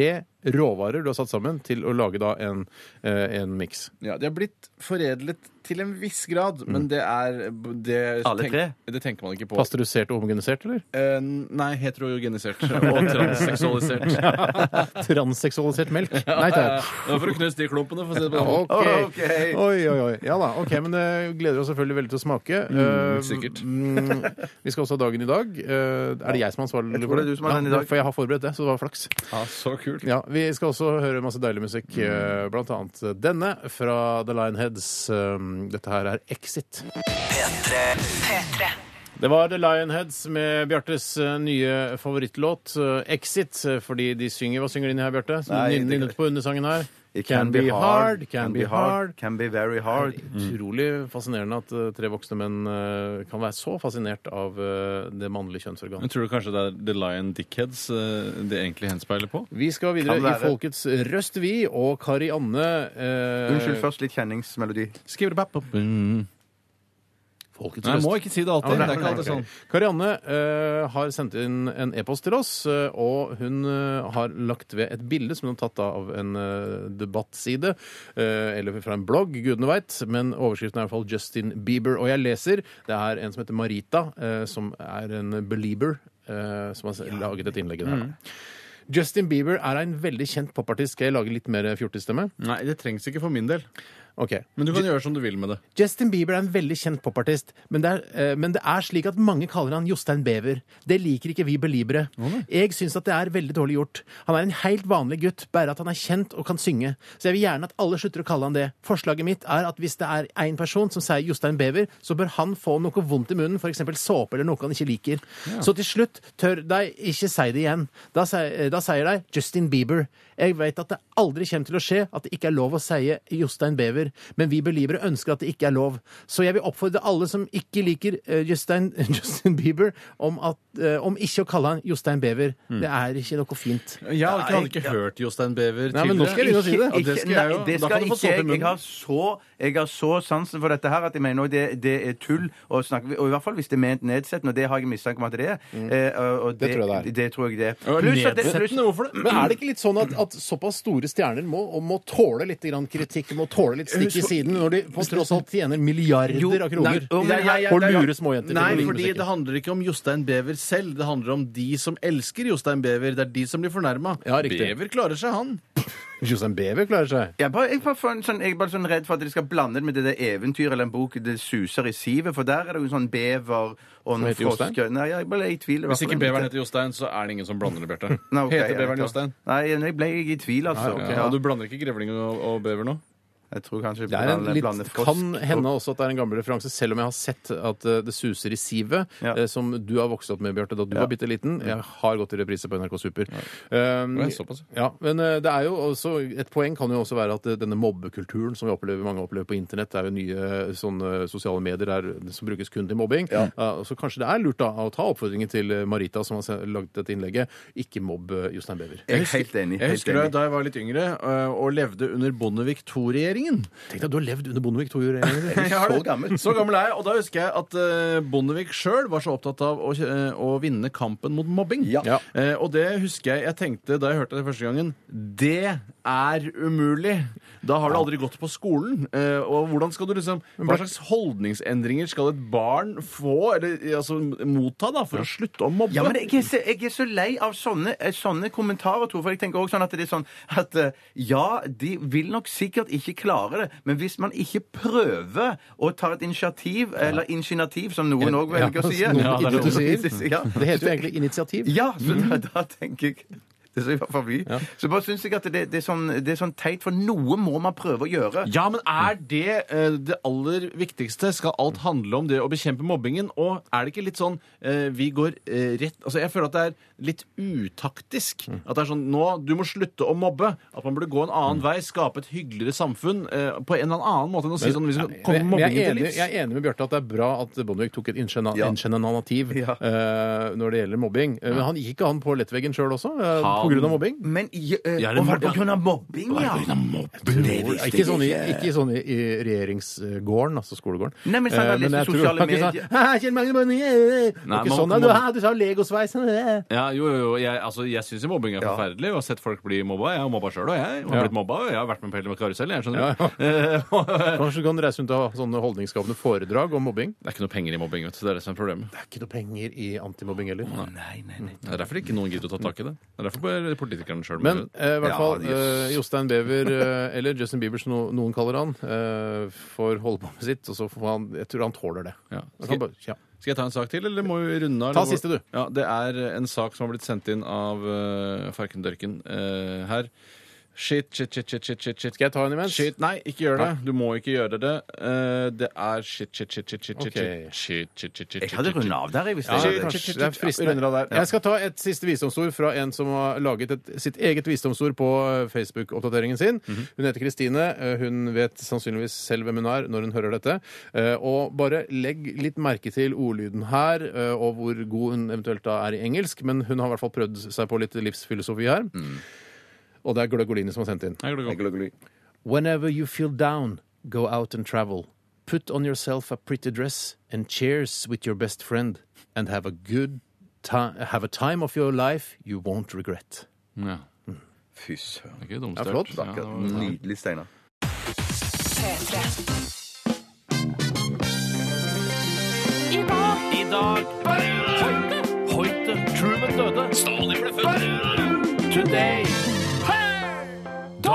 C: tre råvarer du har satt sammen til å lage da en, eh, en miks.
D: Ja, De har blitt foredlet til en viss grad, men det er det,
E: Mm. Alle tre?
D: det tenker man ikke på.
C: Pasteurisert og homogenisert, [laughs] eller?
D: Eh, nei, heterogenisert
E: [laughs]
D: og transseksualisert.
C: Transseksualisert melk? Nei takk.
D: Det var for å knuse de klumpene. For å si det på den måten.
C: Ok. Oi, oi, oi. Ja da. Ok, men eh, gleder oss selvfølgelig veldig til å smake. Eh,
D: sikkert.
C: mm, vi skal også ha dagen i dag. Eh, er det jeg som er ansvarlig?
E: tror det er du som har den i dag.
C: For jeg har forberedt det, så det var flaks.
D: Ja, så kult.
C: Ja, Vi skal også høre masse deilig musikk, eh, blant annet denne fra The Lionheads. Eh, Dette her er Exit.
G: P3.
C: Det var The Lionheads med Bjartes eh, nye favorittlåt, eh, Exit. eh, Fordi de synger Hva synger de inn i her, Bjarte?
E: Nei, det-
C: Nynnet på undersangen her. Can be hard, can be hard.
E: Can be very hard.
C: Utrolig fascinerende at eh, tre voksne menn eh, kan være så fascinert av eh, det mannlige kjønnsorganet.
D: Men tror du kanskje det er The Lion Dickheads eh, det egentlig henspeiler på?
C: Vi skal videre
E: Kan
C: i
E: være.
C: Folkets røst, vi, og Karianne eh,
E: Unnskyld, først litt kjenningsmelodi.
D: Skriver det bapp opp. Mm.
C: Folkets
D: Nei, jeg
C: røst.
D: må ikke si det alltid. Det er ikke alltid sånn.
C: Karianne eh, har sendt inn en e-post til oss, eh, og hun eh, har lagt ved et bilde som hun har tatt da av en eh, debattside, eh, eller fra en blogg, gudene veit, men overskriften er i hvert fall Justin Bieber. Og jeg leser, det er en som heter Marita, eh, som er en belieber, eh, som har s- laget et innlegg der.
D: Mm.
C: Justin Bieber er en veldig kjent popartist. Skal jeg lage litt mer fjortisstemme?
D: sånn. Nei, det trengs ikke for min del.
C: Ok.
D: Men du kan gjøre som du vil med det.
C: Justin Bieber er en veldig kjent popartist, men det, er, eh, men det er slik at mange kaller han Jostein Bever. Det liker ikke vi beliebere. Jeg syns at det er veldig dårlig gjort. Han er en helt vanlig gutt, bare at han er kjent og kan synge. Så jeg vil gjerne at alle slutter å kalle han det. Forslaget mitt er at hvis det er én person som sier Jostein Bever, så bør han få noe vondt i munnen, f.eks. såpe eller noe han ikke liker. Så til slutt tør de ikke si det igjen. Da, sier- da sier de Justin Bieber. Jeg vet at det aldri kommer til å skje at det ikke er lov å si Jostein Bever. belieber. Men vi believere ønsker at det ikke er lov. Så jeg vil oppfordre alle som ikke liker eh, Justin, [laughs] Justin Bieber, om, at, eh, om ikke å kalle han Jostein Bever. Det er ikke noe fint.
D: Jeg hadde ikke, hadde ikke hørt Jostein Bever
C: Nei, men nå skal jeg begynne å si det.
D: Ja, det skal jeg jo.
E: Nei, det
D: Da
E: skal
D: kan du få
E: ikke
D: såpe i
E: jeg. Jeg
D: munnen.
E: har, så, jeg har så sansen for dette her at jeg mener også det, det er tull å snakke Og i hvert fall hvis det er ment nedsettende, og det har jeg mistanke om at det er.
D: Mm.
E: eh, og- og
C: Det tror jeg det er.
E: Det tror jeg det er.
D: Ja,
E: Pluss at det- pluss-
D: Nedsettende, hvorfor det?
C: Men er det ikke litt sånn at, at såpass store stjerner må, og må tåle litt grann kritikk, må tåle litt stikk i siden, når de på tross alt tjener milliarder av kroner?
E: jo, men jeg-
C: Og lurer småjenter til å
D: Nei,
C: like
D: fordi
C: musikken.
D: det handler ikke om Jostein Bever selv. Det handler om de som elsker Jostein Bever. Det er de som blir fornærma.
C: Ja, riktig.
D: Bever klarer seg, han.
C: Jostein Bever klarer seg.
E: Jeg er bare, jeg, er bare for en sånn, jeg er bare sånn redd for at de skal blande det med det der eventyret eller en bok Det suser i sivet, for der er det jo en sånn bever og noen
C: heter Jostein?
E: frosker Nei, jeg bare er i tvil. i hvert
D: Hvis
E: fall.
D: ikke beveren heter Jostein, så er det ingen som blander det, [laughs] Bjarte.
E: Nei, ok, jeg
D: heter beveren
E: vet
D: Jostein?
E: det. Nei, nå ble jeg i tvil, altså.
D: Ja,
E: Ok, ja.
D: Du blander ikke grevling og, og bever nå?
E: Jeg tror kanskje
C: Det er en
E: blander- blander
C: litt,
E: frosk
C: kan hende
E: og-
C: også at det er en gammel referanse, selv om jeg har sett at eh, det suser i sivet,
E: Ja.
C: eh, som du har vokst opp med, Bjarte, da du var bitte liten. Jeg har gått i reprise på NRK Super. Um,
D: Oi, såpass.
C: ja, men eh, det er jo også, et poeng kan jo også være at eh, denne mobbekulturen som vi opplever, mange opplever på internett, det er jo nye eh, sånne sosiale medier der, som brukes kun til mobbing. Eh, så kanskje det er lurt da, å ta oppfordringen til eh, Marita, som har se- laget dette innlegget, ikke mobb eh, Jostein Bever.
E: Jeg er helt enig.
D: Jeg
E: helt
D: husker
E: enig.
D: da jeg var litt yngre øh, og levde under Bondevik II-regjeringen.
C: Tenk deg, du har levd under Bondevik [laughs] II-regjeringen.
E: så gammel.
D: Så gammel er jeg, og da husker jeg at eh, Bondevik sjøl var så opptatt av å, eh, å vinne kampen mot mobbing.
C: Ja.
D: Eh, og det husker jeg jeg tenkte da jeg hørte det første gangen. Det er umulig! Da har du aldri gått på skolen. eh, og hvordan skal du liksom Hva slags holdningsendringer skal et barn få, eller altså motta, da, for å slutte å mobbe?
E: Ja, men jeg er, så, jeg er så lei av sånne, eh, sånne kommentarer, Tor. For jeg tenker også sånn at det er sånn at eh, ja, de vil nok sikkert ikke klare det, men hvis man ikke prøver å ta et initiativ, eller initiativ, som noen òg
C: Ja,
E: velger å si
C: som noen
D: Ja, det er
C: idioter sier.
E: Ja.
C: Det heter jo egentlig initiativ.
E: Ja, så da, da tenker jeg det skal i hvert fall bli. Så bare syns jeg at det, det, er sånn, det er sånn teit, for noe må man prøve å gjøre.
D: Ja, men er det eh, det aller viktigste? Skal alt handle om det å bekjempe mobbingen? Og er det ikke litt sånn eh, vi går eh, rett Altså, jeg føler at det er litt utaktisk. At det er sånn nå, du må slutte å mobbe. At man burde gå en annen vei, skape et hyggeligere samfunn eh, på en eller annen måte enn å si sånn hvis vi
C: Men
D: kommer
C: men jeg, er
D: mobbingen til
C: enig,
D: livs.
C: jeg er enig med Bjarte at det er bra at Bondevik tok et ingenana-
E: Ja.
C: ingenanativ
E: Ja.
C: eh, når det gjelder mobbing. Eh, Men han gikk ikke han på lettveggen sjøl også, eh, på
D: Han-
C: grunn av mobbing?
E: Men i, eh,
D: Ja, det
E: og
D: må-
E: var det på grunn av mobbing, ja?
C: Ikke sånn i, ikke sånn i, i regjeringsgården, altså skolegården.
E: Nei, men så han har
C: Eh,
E: lest i
C: jeg tror-
E: sosiale
C: han ikke sa,
E: medier.
C: «Haha, Kjell Magne Bondevik, eh, eh». Det var
D: Nei,
C: ikke
D: man-
C: sånn, «Nei, du, hæ, du sa legosveis. eh, eh».
D: Ja, jo, jo, jo. Jeg, altså, jeg syns jo mobbing er forferdelig. Jeg har sett folk bli mobba. Jeg har mobba sjøl, og jeg har
C: Ja.
D: blitt mobba. og Jeg har vært med på hele karusell, jeg, skjønner
C: Ja,
D: du. Eh,
C: Kanskje du kan reise rundt og ha sånne holdningsskapende foredrag om mobbing?
D: Det er ikke noe penger i mobbing, vet du. Det er det som er problemet.
C: Det er ikke noe penger i antimobbing heller.
E: Nei, nei, nei.
D: Det er derfor ikke noen gidder å ta tak i det. Det er derfor bare politikerne sjøl
C: Men eh, i hvert
E: Ja,
C: fall
E: de-
C: eh, Jostein Bever, eh, eller Justin Bieber som no- noen kaller han, eh, får holde på med sitt, og så får han Jeg tror han tåler det.
D: Ja.
C: Han kan bare, ja.
D: Skal jeg ta en sak til, eller må vi runde av?
C: Ta
D: eller hvor-
C: siste, du.
D: Ja, Det er eh, en sak som har blitt sendt inn av uh, Farkendørken eh, her. Shit, shit, shit, shit, shit, shit, shit.
C: Skal jeg ta en imens?
D: Shit, Nei, ikke gjør det. Du må ikke gjøre det. Eh, det er shit, shit, shit, shit, shit, shit,
C: Ok.
D: shit, shit, shit, shit,
E: Jeg hadde
D: shit, shit.
E: runda av der, jeg, hvis
C: Ja,
E: jeg
D: Shit,
C: kanskje.
D: shit, shit,
C: det er
D: shit.
C: fristende.
D: Vi runder av der, ja.
C: Jeg skal ta et siste visdomsord fra en som har laget et, sitt eget visdomsord på eh, Facebook-oppdateringen sin. Hun heter Kristine. Eh, Hun vet sannsynligvis selv hvem hun er når hun hører dette. Eh, Og bare legg litt merke til ordlyden her, eh, og hvor god hun eventuelt da er i engelsk, men hun har i hvert fall prøvd seg på litt livsfilosofi her. Og det er Gløgolini som har sendt inn.
D: Nei, går det godt?
C: Whenever you feel down, go out and travel. Put on yourself a pretty dress and cheers with your best friend and have a good time, have a time of your life you won't regret.
D: Ja.
E: Fy søren.
D: Det er ikke dumt.
C: Det er flott,
D: størt. Ja, det var-
E: Nydelig, Steinar.
G: P3.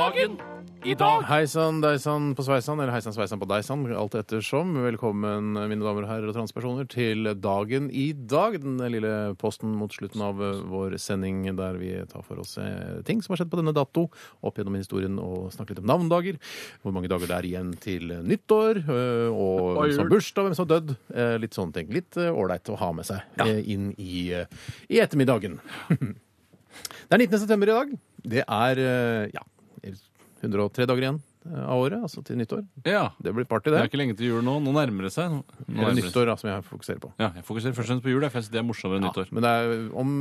C: Hei sann, dei sann på sveisann, eller hei sann, sveisann på dei sann, alt ettersom. Velkommen, mine damer og herrer og transpersoner, til dagen i dag. Den lille posten mot slutten av eh, vår sending der vi tar for oss eh, ting som har skjedd på denne dato, opp gjennom historien, og snakker litt om navndager. Hvor mange dager det er igjen til eh, nyttår, eh, og
D: Og
C: hvem som
D: jul.
C: har bursdag, hvem som har dødd. eh, Litt sånne ting. Litt eh, ålreit å ha med seg eh, inn i, eh, i ettermiddagen. Det er 19. september i dag. Det er eh, ja, 103 dager igjen av året, altså til nyttår.
D: Ja.
C: Det blir party,
D: Det
C: det.
D: er ikke lenge til jul nå. Nå nærmer det seg. Nå
C: Det er
D: nærmer det seg.
C: nyttår da, som jeg fokuserer på.
D: Ja, jeg fokuserer først og fremst på jul, jeg, for jeg synes det er morsommere enn nyttår.
C: Men det er om,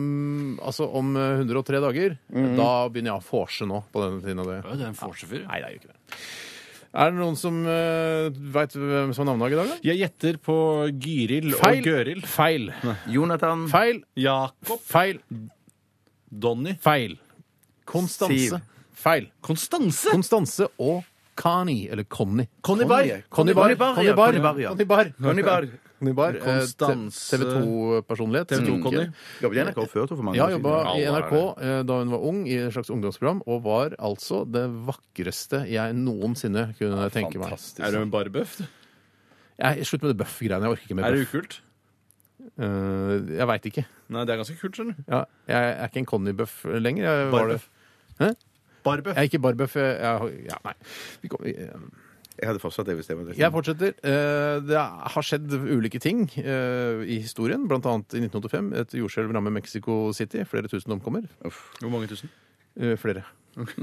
C: altså, om eh, 103 dager, da begynner jeg å forse nå på denne tiden av det.
D: Ja, det er en forsefyr.
C: Nei, det er jo ikke det. Er det noen som uh, veit hvem som har navnedag i dag, da?
D: Jeg gjetter på Gyril
C: Feil.
D: og Gøril.
C: Feil.
E: Jonathan
C: Feil.
D: Jakob.
C: Feil.
D: Donny.
C: Feil. Konstanse.
E: Siv.
C: Feil.
D: Konstanse!
C: Konstanse og Kani, eller Conny. Conny
E: Barr.
C: Conny Barr.
E: Conny Barr, ja. Conny
C: Barr.
E: Conny Barr.
C: Conny Barr. eh,
D: Konstanse.
C: TV 2-personlighet.
D: TV2-Conny.
E: Jobbet i NRK før, tror jeg, for mange
C: Ja,
E: år siden.
C: jobba i
D: Ja, det er
C: NRK eh, da hun var ung, i et slags ungdomsprogram, og var altså det vakreste jeg noensinne kunne tenke meg.
D: Er du en barbøff?
C: Jeg, slutt med det bøff-greiene. Jeg orker ikke mer
D: Er det
C: bøff.
D: ukult?
C: Eh, jeg veit ikke.
D: Nei, det er ganske kult, skjønner du.
C: Ja, jeg er ikke en Conny-bøff lenger. Jeg, var det.
D: Barbøff.
C: Hæ?
D: Barbøff.
C: jeg er ikke barbøff. Jeg, jeg, ja, nei. Vi kom, eh,
E: Jeg hadde fortsatt det hvis det var det.
C: Jeg fortsetter. Eh, Det har skjedd ulike ting eh, i historien, blant annet i 1985. Et jordskjelv rammer Mexico City. Flere tusen omkommer.
D: Hvor mange tusen?
C: Eh, Flere. [laughs]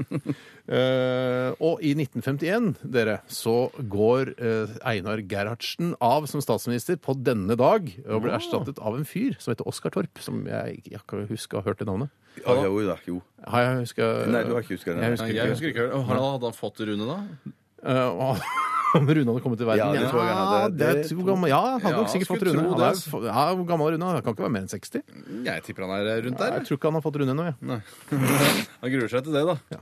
C: Eh, og i 1951, dere, så går eh, Einar Gerhardsen av som statsminister på denne dag og blir erstattet av en fyr som heter Oskar Torp, som jeg ikke jeg kan huske å ha hørt det navnet.
E: Ja, jo da, jo.
C: Har jeg huska
E: Nei, du har ikke husket det.
C: Jeg
D: Nei,
C: husker
D: jeg
C: ikke.
D: husker ikke. Har han, hadde han fått Rune, da?
C: Eh, og [laughs] om Rune hadde kommet til verden?
E: Ja, det tror jeg han hadde.
C: Ja,
E: Det
C: det tror gammel, ja han hadde
D: Ja,
C: nok sikkert fått
D: skulle
C: Rune.
D: tro
C: Han er,
D: det.
C: f- ja, hvor gammel er Rune? Han kan ikke være mer enn 60?
D: Jeg tipper han er rundt
C: Jeg tror ikke han har fått Rune ennå. jeg.
D: Han gruer seg til det, da.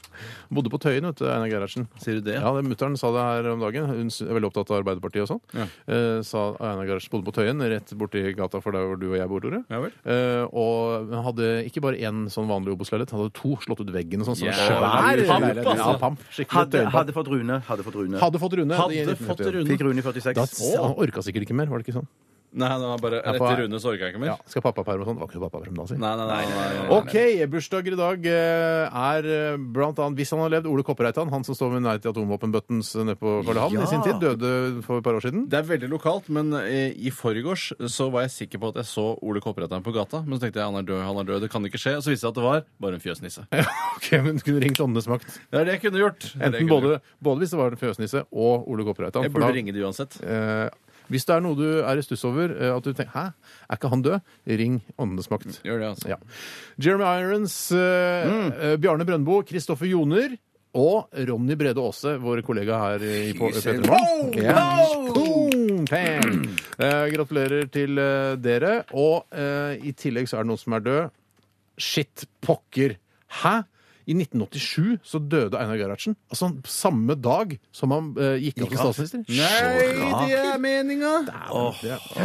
C: Bodde på Tøyen, vet du, Einar Gerhardsen.
D: Sier du det?
C: Ja, det Mutter'n sa det her om dagen. Hun sy- er veldig opptatt av Arbeiderpartiet og sånn. Eh, sa Einar Gerhardsen bodde på Tøyen, rett borti gata for der hvor du og jeg bor, Tore.
D: Ja vel.
C: Eh, og han hadde ikke bare én sånn vanlig Obos-leilighet, han hadde to slått ut veggen og sånn. så det var
D: Yeah.
C: svær
E: Pamp,
C: leilighet.
D: altså.
C: Ja, pamp. Skikkelig
E: Hadde,
C: tøyenpamp.
E: hadde fått Rune. Hadde fått Rune.
C: Hadde fått Rune. i
D: Hadde
C: 1951.
D: fått Rune.
E: Fikk Rune i 46.
C: Da, han orka sikkert ikke mer, var det ikke sånn?
D: Nei, han var bare
C: Ja, på-
D: etter Rune så orker jeg ikke mer.
C: Ja, skal pappaperm og sånn? Var ikke pappaperm da, si.
D: Nei, nei, nei. nei, nei, nei.
C: OK, bursdager i dag eh, er eh, blant annet, hvis han har levd, Ole Koppereitan. Han som står ved Nei til atomvåpenbuttons nede på Karl Johan i sin tid. Døde for et par år siden.
D: Det er veldig lokalt, men eh, i forgårs så var jeg sikker på at jeg så Ole Koppereiteren på gata. Men så tenkte jeg han er død, han er død, det kan ikke skje. Og så viste det seg at det var bare en fjøsnisse.
C: [laughs] Ja, ok, men Du kunne ringt Åndenes makt.
D: Det er det jeg kunne gjort. Det er det jeg
C: Enten
D: kunne
C: både,
D: gjort.
C: både hvis det var en fjøsnisse og Ole Koppereitan.
D: Jeg
C: for
D: burde
C: da-
D: ringe det uansett.
C: eh, hvis det er noe du er i stuss over, eh, at du tenker 'hæ, er ikke han død', ring Åndenes makt.
D: Gjør det, altså.
C: Ja. Jeremy Irons, eh,
E: Mm.
C: eh, Bjarne Brøndbo, Kristoffer Joner og Ronny Brede Aase, vår kollega her i på- Petremorgen. Ja. Boom, bang. Eh, gratulerer til eh, dere. Og eh, i tillegg så er det noen som er død. Shit pokker! Hæ? I 1987 så døde Einar Gerhardsen. Altså samme dag som han eh, gikk av som statsminister.
D: Nei, det er meninga!
C: Ja.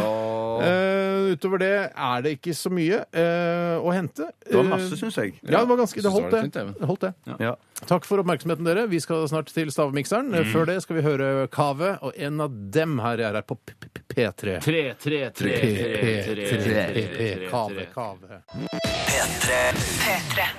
C: Eh, utover det er det ikke så mye eh, å hente.
E: Det var masse, syns jeg.
C: Ja, det var ganske, det
D: Synes det
C: holdt
D: var
C: det.
D: litt fint, jeg.
C: det, holdt det.
E: Ja.
C: Takk for oppmerksomheten, dere. Vi skal snart til stavmikseren.
D: Mm.
C: Før det skal vi høre Kave, og en av dem her er her på P- P- P3.
D: Tre, tre, tre, tre, tre, tre, tre, tre,
C: Kave,
D: tre.
C: Kave.
B: P3
G: P3.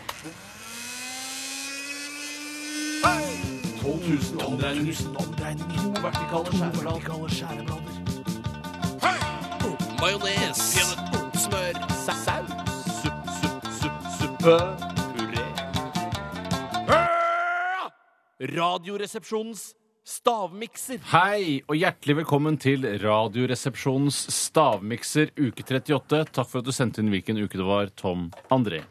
D: Hei, og hjertelig velkommen til Radioresepsjonens stavmikser uke 38. Takk for at du sendte inn hvilken uke det var, Tom André.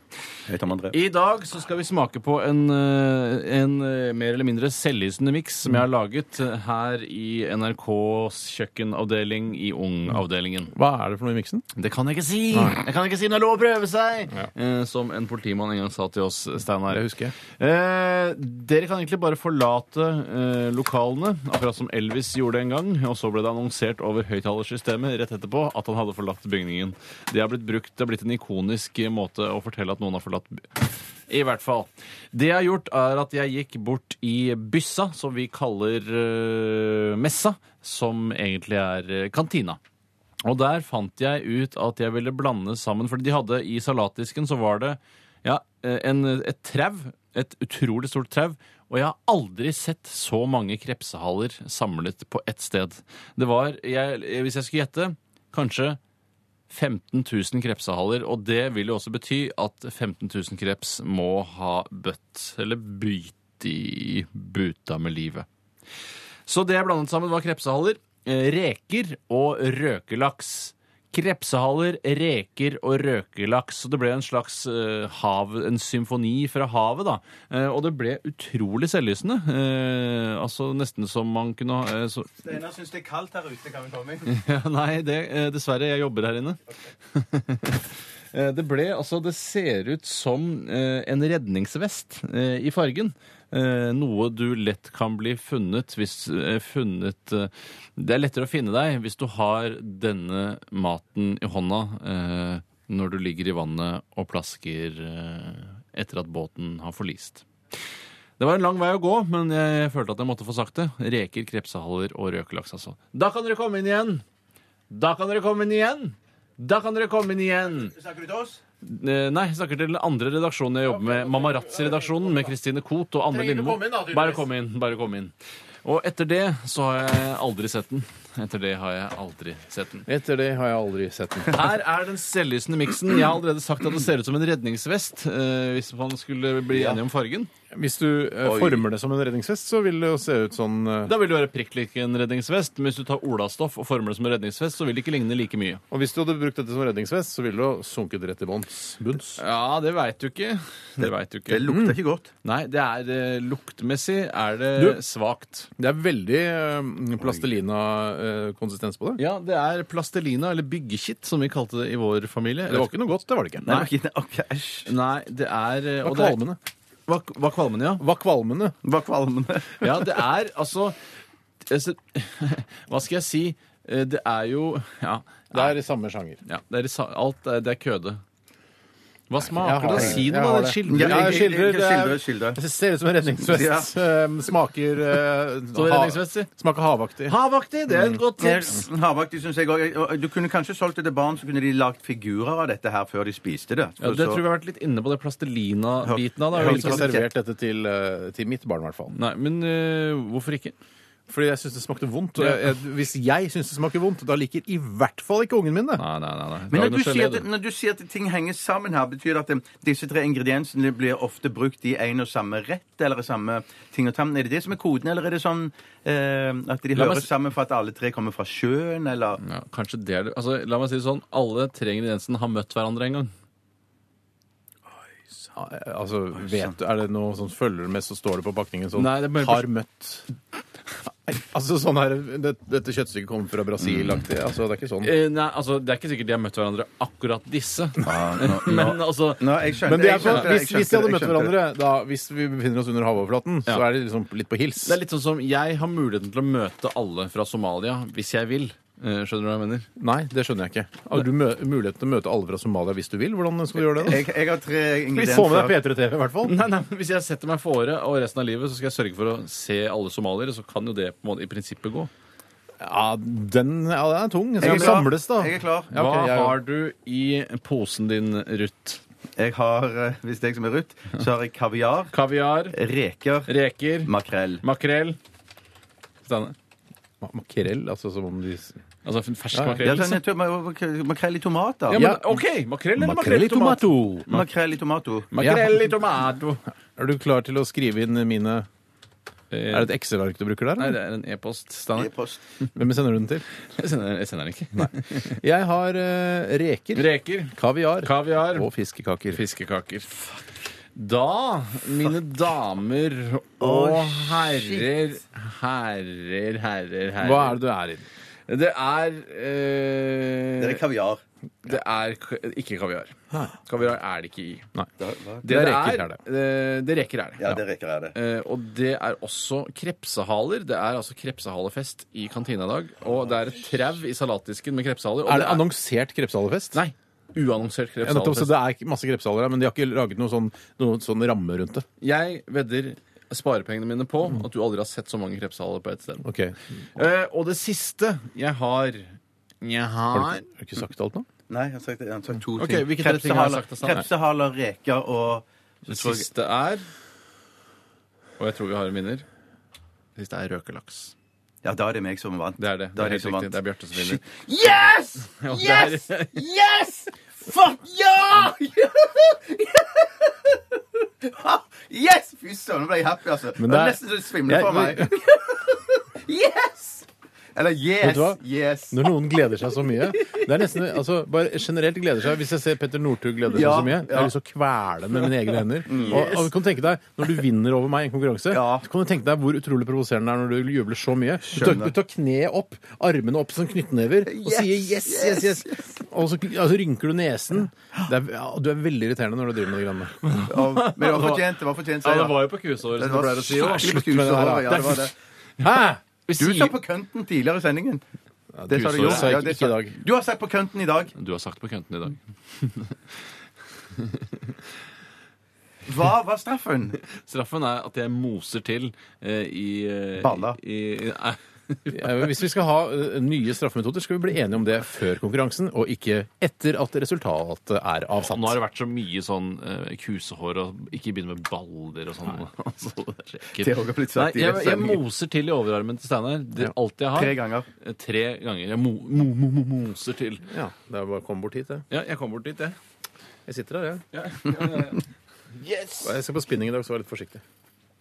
E: Hei, Tom André.
D: I dag så skal vi smake på en, eh, en eh, mer eller mindre selvlysende miks som jeg har laget eh, her i NRKs kjøkkenavdeling i Ung-avdelingen.
C: Hva er det for noe i miksen?
D: Det kan jeg ikke si! Jeg kan ikke si, men det er lov å prøve seg! Eh, Som en politimann en gang sa til oss, Steinar.
C: Det husker jeg.
D: Eh, dere kan egentlig bare forlate eh, lokalene, akkurat som Elvis gjorde en gang. Og så ble det annonsert over høyttalersystemet rett etterpå at han hadde forlatt bygningen. Det har blitt brukt, det har blitt en ikonisk eh, måte å fortelle at noen har forlatt by i hvert fall. Det jeg har gjort, er at jeg gikk bort i byssa, som vi kaller eh, messa, som egentlig er eh, kantina. Og der fant jeg ut at jeg ville blande sammen, fordi de hadde i salatdisken så var det ja, eh, en, et trau, et utrolig stort trau, og jeg har aldri sett så mange krepsehaler samlet på ett sted. Det var, jeg, hvis jeg skulle gjette, kanskje 15 000 krepsehaler, og det vil jo også bety at 15 000 kreps må ha bøtt, eller bytt i buta med livet. Så det jeg blandet sammen var krepsehaller, eh, reker og røkelaks. Krepsehaller, reker og røkelaks. Så det ble en slags eh, hav, en symfoni fra havet, da. Eh, og det ble utrolig selvlysende. Eh, altså nesten som man kunne ha eh, så,
E: Steinar syns det er kaldt her ute. Kan vi komme inn?
D: [laughs] ja, Nei, det, eh, dessverre. Jeg jobber her inne. Eh, Det ble, altså det ser ut som eh, en redningsvest eh, i fargen. Eh, noe du lett kan bli funnet hvis eh, funnet eh, Det er lettere å finne deg hvis du har denne maten i hånda eh, når du ligger i vannet og plasker eh, etter at båten har forlist. Det var en lang vei å gå, men jeg følte at jeg måtte få sagt det. Reker, krepsehaller og røkelaks, altså. Da kan dere komme inn igjen! Da kan dere komme inn igjen! Da kan dere komme inn igjen!
E: Snakker du til oss?
D: Eh, Nei, jeg snakker til den andre redaksjonen jeg jobber med. Mamarazzi-redaksjonen med Kristine Koht og Anne
C: Trenger du
D: Lindmo.
C: komme inn da, tydeligvis?
D: Bare kom inn. bare kom inn. Og etter det så har jeg aldri sett den. Etter det har jeg aldri sett den.
C: Etter det har jeg aldri sett den.
D: [laughs] Her er den selvlysende miksen. Jeg har allerede sagt at det ser ut som en redningsvest. eh, hvis man skulle bli enige om fargen.
C: Hvis du eh, former det som en redningsvest, så vil det jo se ut sånn eh,
D: Da vil det være prikk lik en redningsvest. Men hvis du tar olastoff og former det som en redningsvest, så vil det ikke ligne like mye.
C: Og hvis du hadde brukt dette som redningsvest, så ville du ha sunket rett i bunns. bunns.
D: Ja, det veit du ikke. Det vet du ikke.
E: Det lukter ikke godt.
D: Nei, det er eh, luktmessig er det
C: Du-
D: svakt.
C: Det er veldig eh, plastelina-konsistens på det.
D: Ja, det er plastelina, eller byggekitt, som vi kalte det i vår familie.
C: Det var ikke noe godt, det var det ikke.
E: Nei, det var ikke- ok, Æsj.
D: Nei, det er eh,
C: Det var
D: og det er-
C: kvalmende.
D: Var, var kvalmende, ja.
C: Var kvalmende.
E: Bare kvalmende.
D: Ja, det er altså altså, [laughs] Hva skal jeg si? Eh, Det er jo Ja.
C: Det er i samme sjanger.
D: ja det er, i sa- alt er, det er køde. Hva
C: Jeg
D: smaker
C: har
D: det?
C: det.
D: Si
C: Jeg
D: noe,
C: har
D: da.
C: det.
D: Det
E: Ja,
D: skildrer.
C: Ja,
E: jeg- jeg- jeg-
C: skildrer, det er-
E: skildre, skildre.
C: Det ser ut som en redningsvest. Eh, Smaker eh,
D: Som en
C: ha-
D: redningsvest, si.
C: Smaker havaktig.
D: Havaktig! Det er et godt tips.
E: Mm. Havaktig syns jeg òg. Du kunne kanskje solgt det til barn, så kunne de lagd figurer av dette her før de spiste det.
D: Ja, det tror jeg vi har vært litt inne på det plastelina-biten av det.
C: Jeg
D: er
C: ville ikke
D: jo ikke servert-
C: servert dette til, eh, til mitt barn, i hvert fall.
D: Nei, men eh, hvorfor ikke?
C: Fordi jeg syns det smakte vondt. Og jeg, jeg, hvis jeg syns det smaker vondt, da liker i hvert fall ikke ungen min det.
D: Nei, nei, nei. nei.
E: Men
D: Lag
E: når
D: noe
E: du, sier
D: gelé,
E: at, når du sier at ting henger sammen her, betyr det at eh, disse tre ingrediensene blir ofte brukt i en og samme rett eller i samme ting og tann? Er det det som er koden, eller er det sånn eh, at de
D: La meg
E: hører
D: s-
E: sammen for at alle tre kommer fra sjøen, eller
D: Ja, kanskje det er det. Altså, la meg si det sånn, alle tre ingrediensene har møtt hverandre en gang.
C: Altså, vet du, Er det noe sånn følger du med, så står det på pakningen sånn
D: Nei, det er bare-
C: Har møtt Altså sånn her det, Dette kjøttstykket kommer fra Brasil-aktig. Altså, det er ikke sånn.
D: Eh, nei, altså, Det er ikke sikkert de har møtt hverandre akkurat disse. [laughs] Men altså
E: Nå, jeg skjønte
C: Men det er
E: jeg
C: på,
E: skjønte det, jeg
C: hvis, hvis de
E: skjønte
C: hadde
E: det, jeg
C: møtt
E: skjønte
C: hverandre da, Hvis vi befinner oss under havoverflaten, så er det liksom litt på hils.
D: Det er litt sånn som jeg har muligheten til å møte alle fra Somalia hvis jeg vil. Eh, skjønner du hva jeg mener?
C: Nei, det skjønner jeg ikke. Har du mø mulighet til å møte alle fra Somalia hvis du vil? Hvordan skal du gjøre det? da?
E: Jeg, jeg har tre
C: Vi så med
E: ingredienser.
C: deg P3 TV, i hvert fall.
D: Nei, nei, men Hvis jeg setter meg fore og resten av livet så skal jeg sørge for å se alle somaliere, så kan jo det på en måte i prinsippet gå.
C: Ja, den, ja, den er tung. Skal
E: Jeg er
C: vi
E: klar.
C: samles, da?
E: Jeg er klar.
C: Ja, ok,
D: hva
C: jeg,
D: har du i posen din, Ruth?
E: Jeg har, eh, Hvis det er jeg som er Ruth, så har jeg kaviar,
D: Kaviar,
E: reker,
D: reker,
E: makrell.
D: makrell Steinar.
C: Ma- Makrell, altså som om de
D: Altså fersk
C: Ja, ja.
E: Ja,
D: makrell?
E: sånn, jeg tror, mak- makrell i tomat, da.
D: Ja, men
C: Ja.
D: OK! Makrell eller makrell i tomat?
E: Makrell i tomato.
D: Makrell i tomato.
C: Er du klar til å skrive inn mine Er det et Excel-ark du bruker der?
D: Eh, Nei,
C: eller?
D: det er en e-post. Steinar.
E: E-post.
C: Hvem sender du den til?
D: Jeg sender, jeg sender den ikke.
C: Jeg har eh, reker,
D: Reker,
C: kaviar
D: kaviar,
C: og fiskekaker.
D: fiskekaker. Da, mine damer og herrer Herrer, herrer, herrer
C: Hva er det du er i?
D: Det er eh,
E: Det er kaviar.
D: Det er k- ikke kaviar. Kaviar er det ikke i.
C: Nei.
E: Da- hva?
D: Det,
C: reker, er det.
D: eh, det reker er det.
E: Ja, det reker jeg det.
D: Eh, og det er også krepsehaler. Det er altså krepsehalefest i kantina i dag. Og det er et trau i salatdisken med krepsehaler. Og
C: Er det annonsert krepshalefest?
D: Nei. Uannonsert
C: Ja, nettopp, så
D: krepsehalefest.
C: det er ikke masse krepshaler her, men de har ikke laget noen sånn, noen sånn ramme rundt det.
D: Jeg vedder sparepengene mine på at du aldri har sett så mange krepsehaler på ett sted.
C: Ok,
D: Eh, og det siste jeg har Jeg
C: Har du,
D: har
C: ikke- har du ikke sagt alt nå?
E: Nei, han har sagt, han har sagt to
D: Mm. Ok,
E: ting.
D: hvilke tre ting har jeg sagt, da, Steinar?
E: krepsehaler, reker og
D: Det siste er Og jeg tror vi har en vinner. Det siste er røkelaks.
E: Ja, da er det meg som vant.
D: Det er det.
E: Da
D: Det
E: er
D: er,
E: jeg
D: helt
E: som
D: riktig.
E: vant.
D: Det er Bjarte som vinner.
H: Yes!
D: Ja, det er-
H: Yes! Yes! Fuck ja!
E: Yes! Fy søren, nå ble jeg happy, altså.
C: Men
E: det
C: det
E: er
C: er-
E: altså. nesten så det svimler for
C: Jeg-
E: meg. Eller
C: Vet
E: yes!
C: du hva?
E: Yes!
C: Når noen gleder seg så mye Det er nesten, altså, bare generelt gleder seg Hvis jeg ser Petter Northug glede seg
E: Ja,
C: så mye Jeg
E: ja. Mm.
C: har lyst til å kvele den med mine egne hender og, og du kan tenke deg, når du vinner over meg i en konkurranse
E: Ja.
C: Så kan du tenke deg hvor utrolig provoserende det er Når du jubler så mye Du tar,
E: Skjønner.
C: du tar kneet opp, armene opp som knyttnever Og
E: Yes,
C: sier yes, yes, yes, Og så altså, rynker du nesen det er, ja, Du er veldig irriterende når du driver med det grannet
E: Og- Men det var fortjent. Det var fortjent
D: Ja,
E: seier.
D: det var jo på kusåret, som du pleier å si. da.
C: Slutt
E: skikkelig
C: med det her, da.
E: kusår, ja, det var det.
C: Hæ?
E: Du sa på kønten tidligere i sendingen. Det sa du
D: kusår
E: jo.
D: sa
C: jeg
E: Ja, det
C: ikke i dag.
E: Du har sagt på kønten i dag.
D: Du har sagt på kønten i dag.
E: Hva var straffen?
D: Straffen er at jeg moser til eh, i eh,
E: Balla.
D: I, i, [laughs] nei.
C: Ja, men Hvis vi skal ha ø, nye straffemetoder, skal vi bli enige om det før konkurransen, og ikke etter at resultatet er avsatt.
D: Nå har det vært så mye sånn eh, kusehår og ikke begynne med baller og sånn. [laughs] Altså, det er så ekkelt.
E: Det har også blitt sagt
D: Nei,
E: i
D: jeg, jeg
E: sendingen.
D: moser til i overarmen til Steinar. Det er alt jeg har.
E: Tre ganger.
D: Eh, Tre ganger. Jeg mo, mo, mo, mo, moser til.
C: Ja, det er bare å komme bort hit, det.
D: Ja, jeg kom bort dit, jeg.
C: Jeg sitter her, jeg.
D: Ja. Ja, ja, ja. Yes!
C: Jeg skal på spinning i dag, så vær litt forsiktig.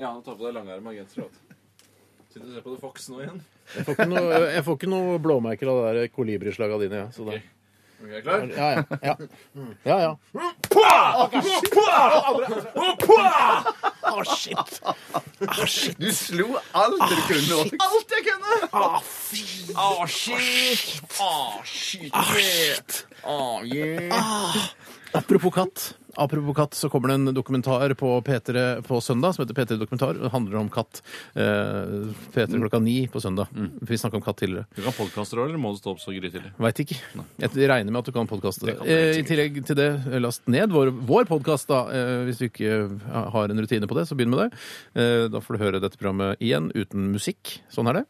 D: Ja, ta på deg langarm og genser. Sitter og ser på The Fox nå igjen.
C: Jeg får ikke noe, jeg får ikke noe blåmerker av det der kolibrislaget dine, jeg. Så da.
D: Er du klar?
C: Ja, ja. ja. ja, ja.
E: Du slo alt det du kunne.
D: Alt jeg kunne! Ah, shit! Ah, shit! Ah, shit! Ah, yeah.
C: Apropos katt. Apropos katt, så kommer det en dokumentar på P3 på søndag som heter P3 Dokumentar. Det handler om katt. Eh, P3 klokka ni på søndag.
D: Mm.
C: Vi snakka om katt tidligere.
D: Du kan podkaster òg, eller må du stå opp så grytidlig?
C: Veit ikke. Jeg regner med at du kan podkaste.
D: Det kan jeg
C: Eh, I
D: sikkert.
C: tillegg til det, eh, last ned vår, vår podkast, da. Eh, hvis du ikke eh, har en rutine på det, så begynn med det. Eh, da får du høre dette programmet igjen uten musikk. Sånn er det.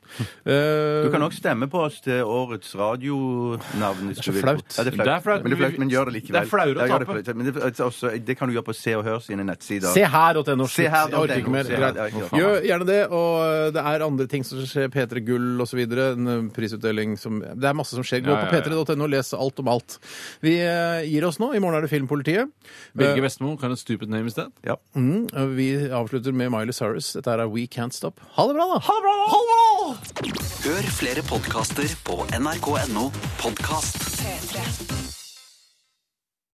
C: Eh,
E: Du kan også stemme på oss til årets radionavn. hvis
C: Det er så
E: du vil.
C: flaut.
E: Ja, det er flaut.
D: Det er flaut,
E: men, det er
D: men
E: flaut, men gjør det likevel.
D: det er flauere å
E: Ja, gjør det
D: tape.
E: flaut. Men det, altså, også, det kan du gjøre på Se og Hør sine nettsider.
C: Se her.no.
E: Se
C: Slutt.
E: her
C: Jeg orker
E: punktum
C: ikke
E: no.
C: mer.
E: Se her, ja,
C: Greit.
E: ikke sant.
C: Gjør gjerne det. Og eh, det er andre ting som skjer. P3 Gull osv. En eh, prisutdeling som Det er masse som skjer. Gå
D: Ja, ja, ja.
C: på p3.no og les alt om alt. Vi eh, gir oss nå. I morgen er det Filmpolitiet.
D: Birger Vestmo, kan et stupid name i sted?
E: Ja.
C: Mm, Vi avslutter med Miley Cyrus. Dette her er We Can't Stop. Ha det bra, da!
B: Hør flere podkaster på nrk.no podkast.
G: P3.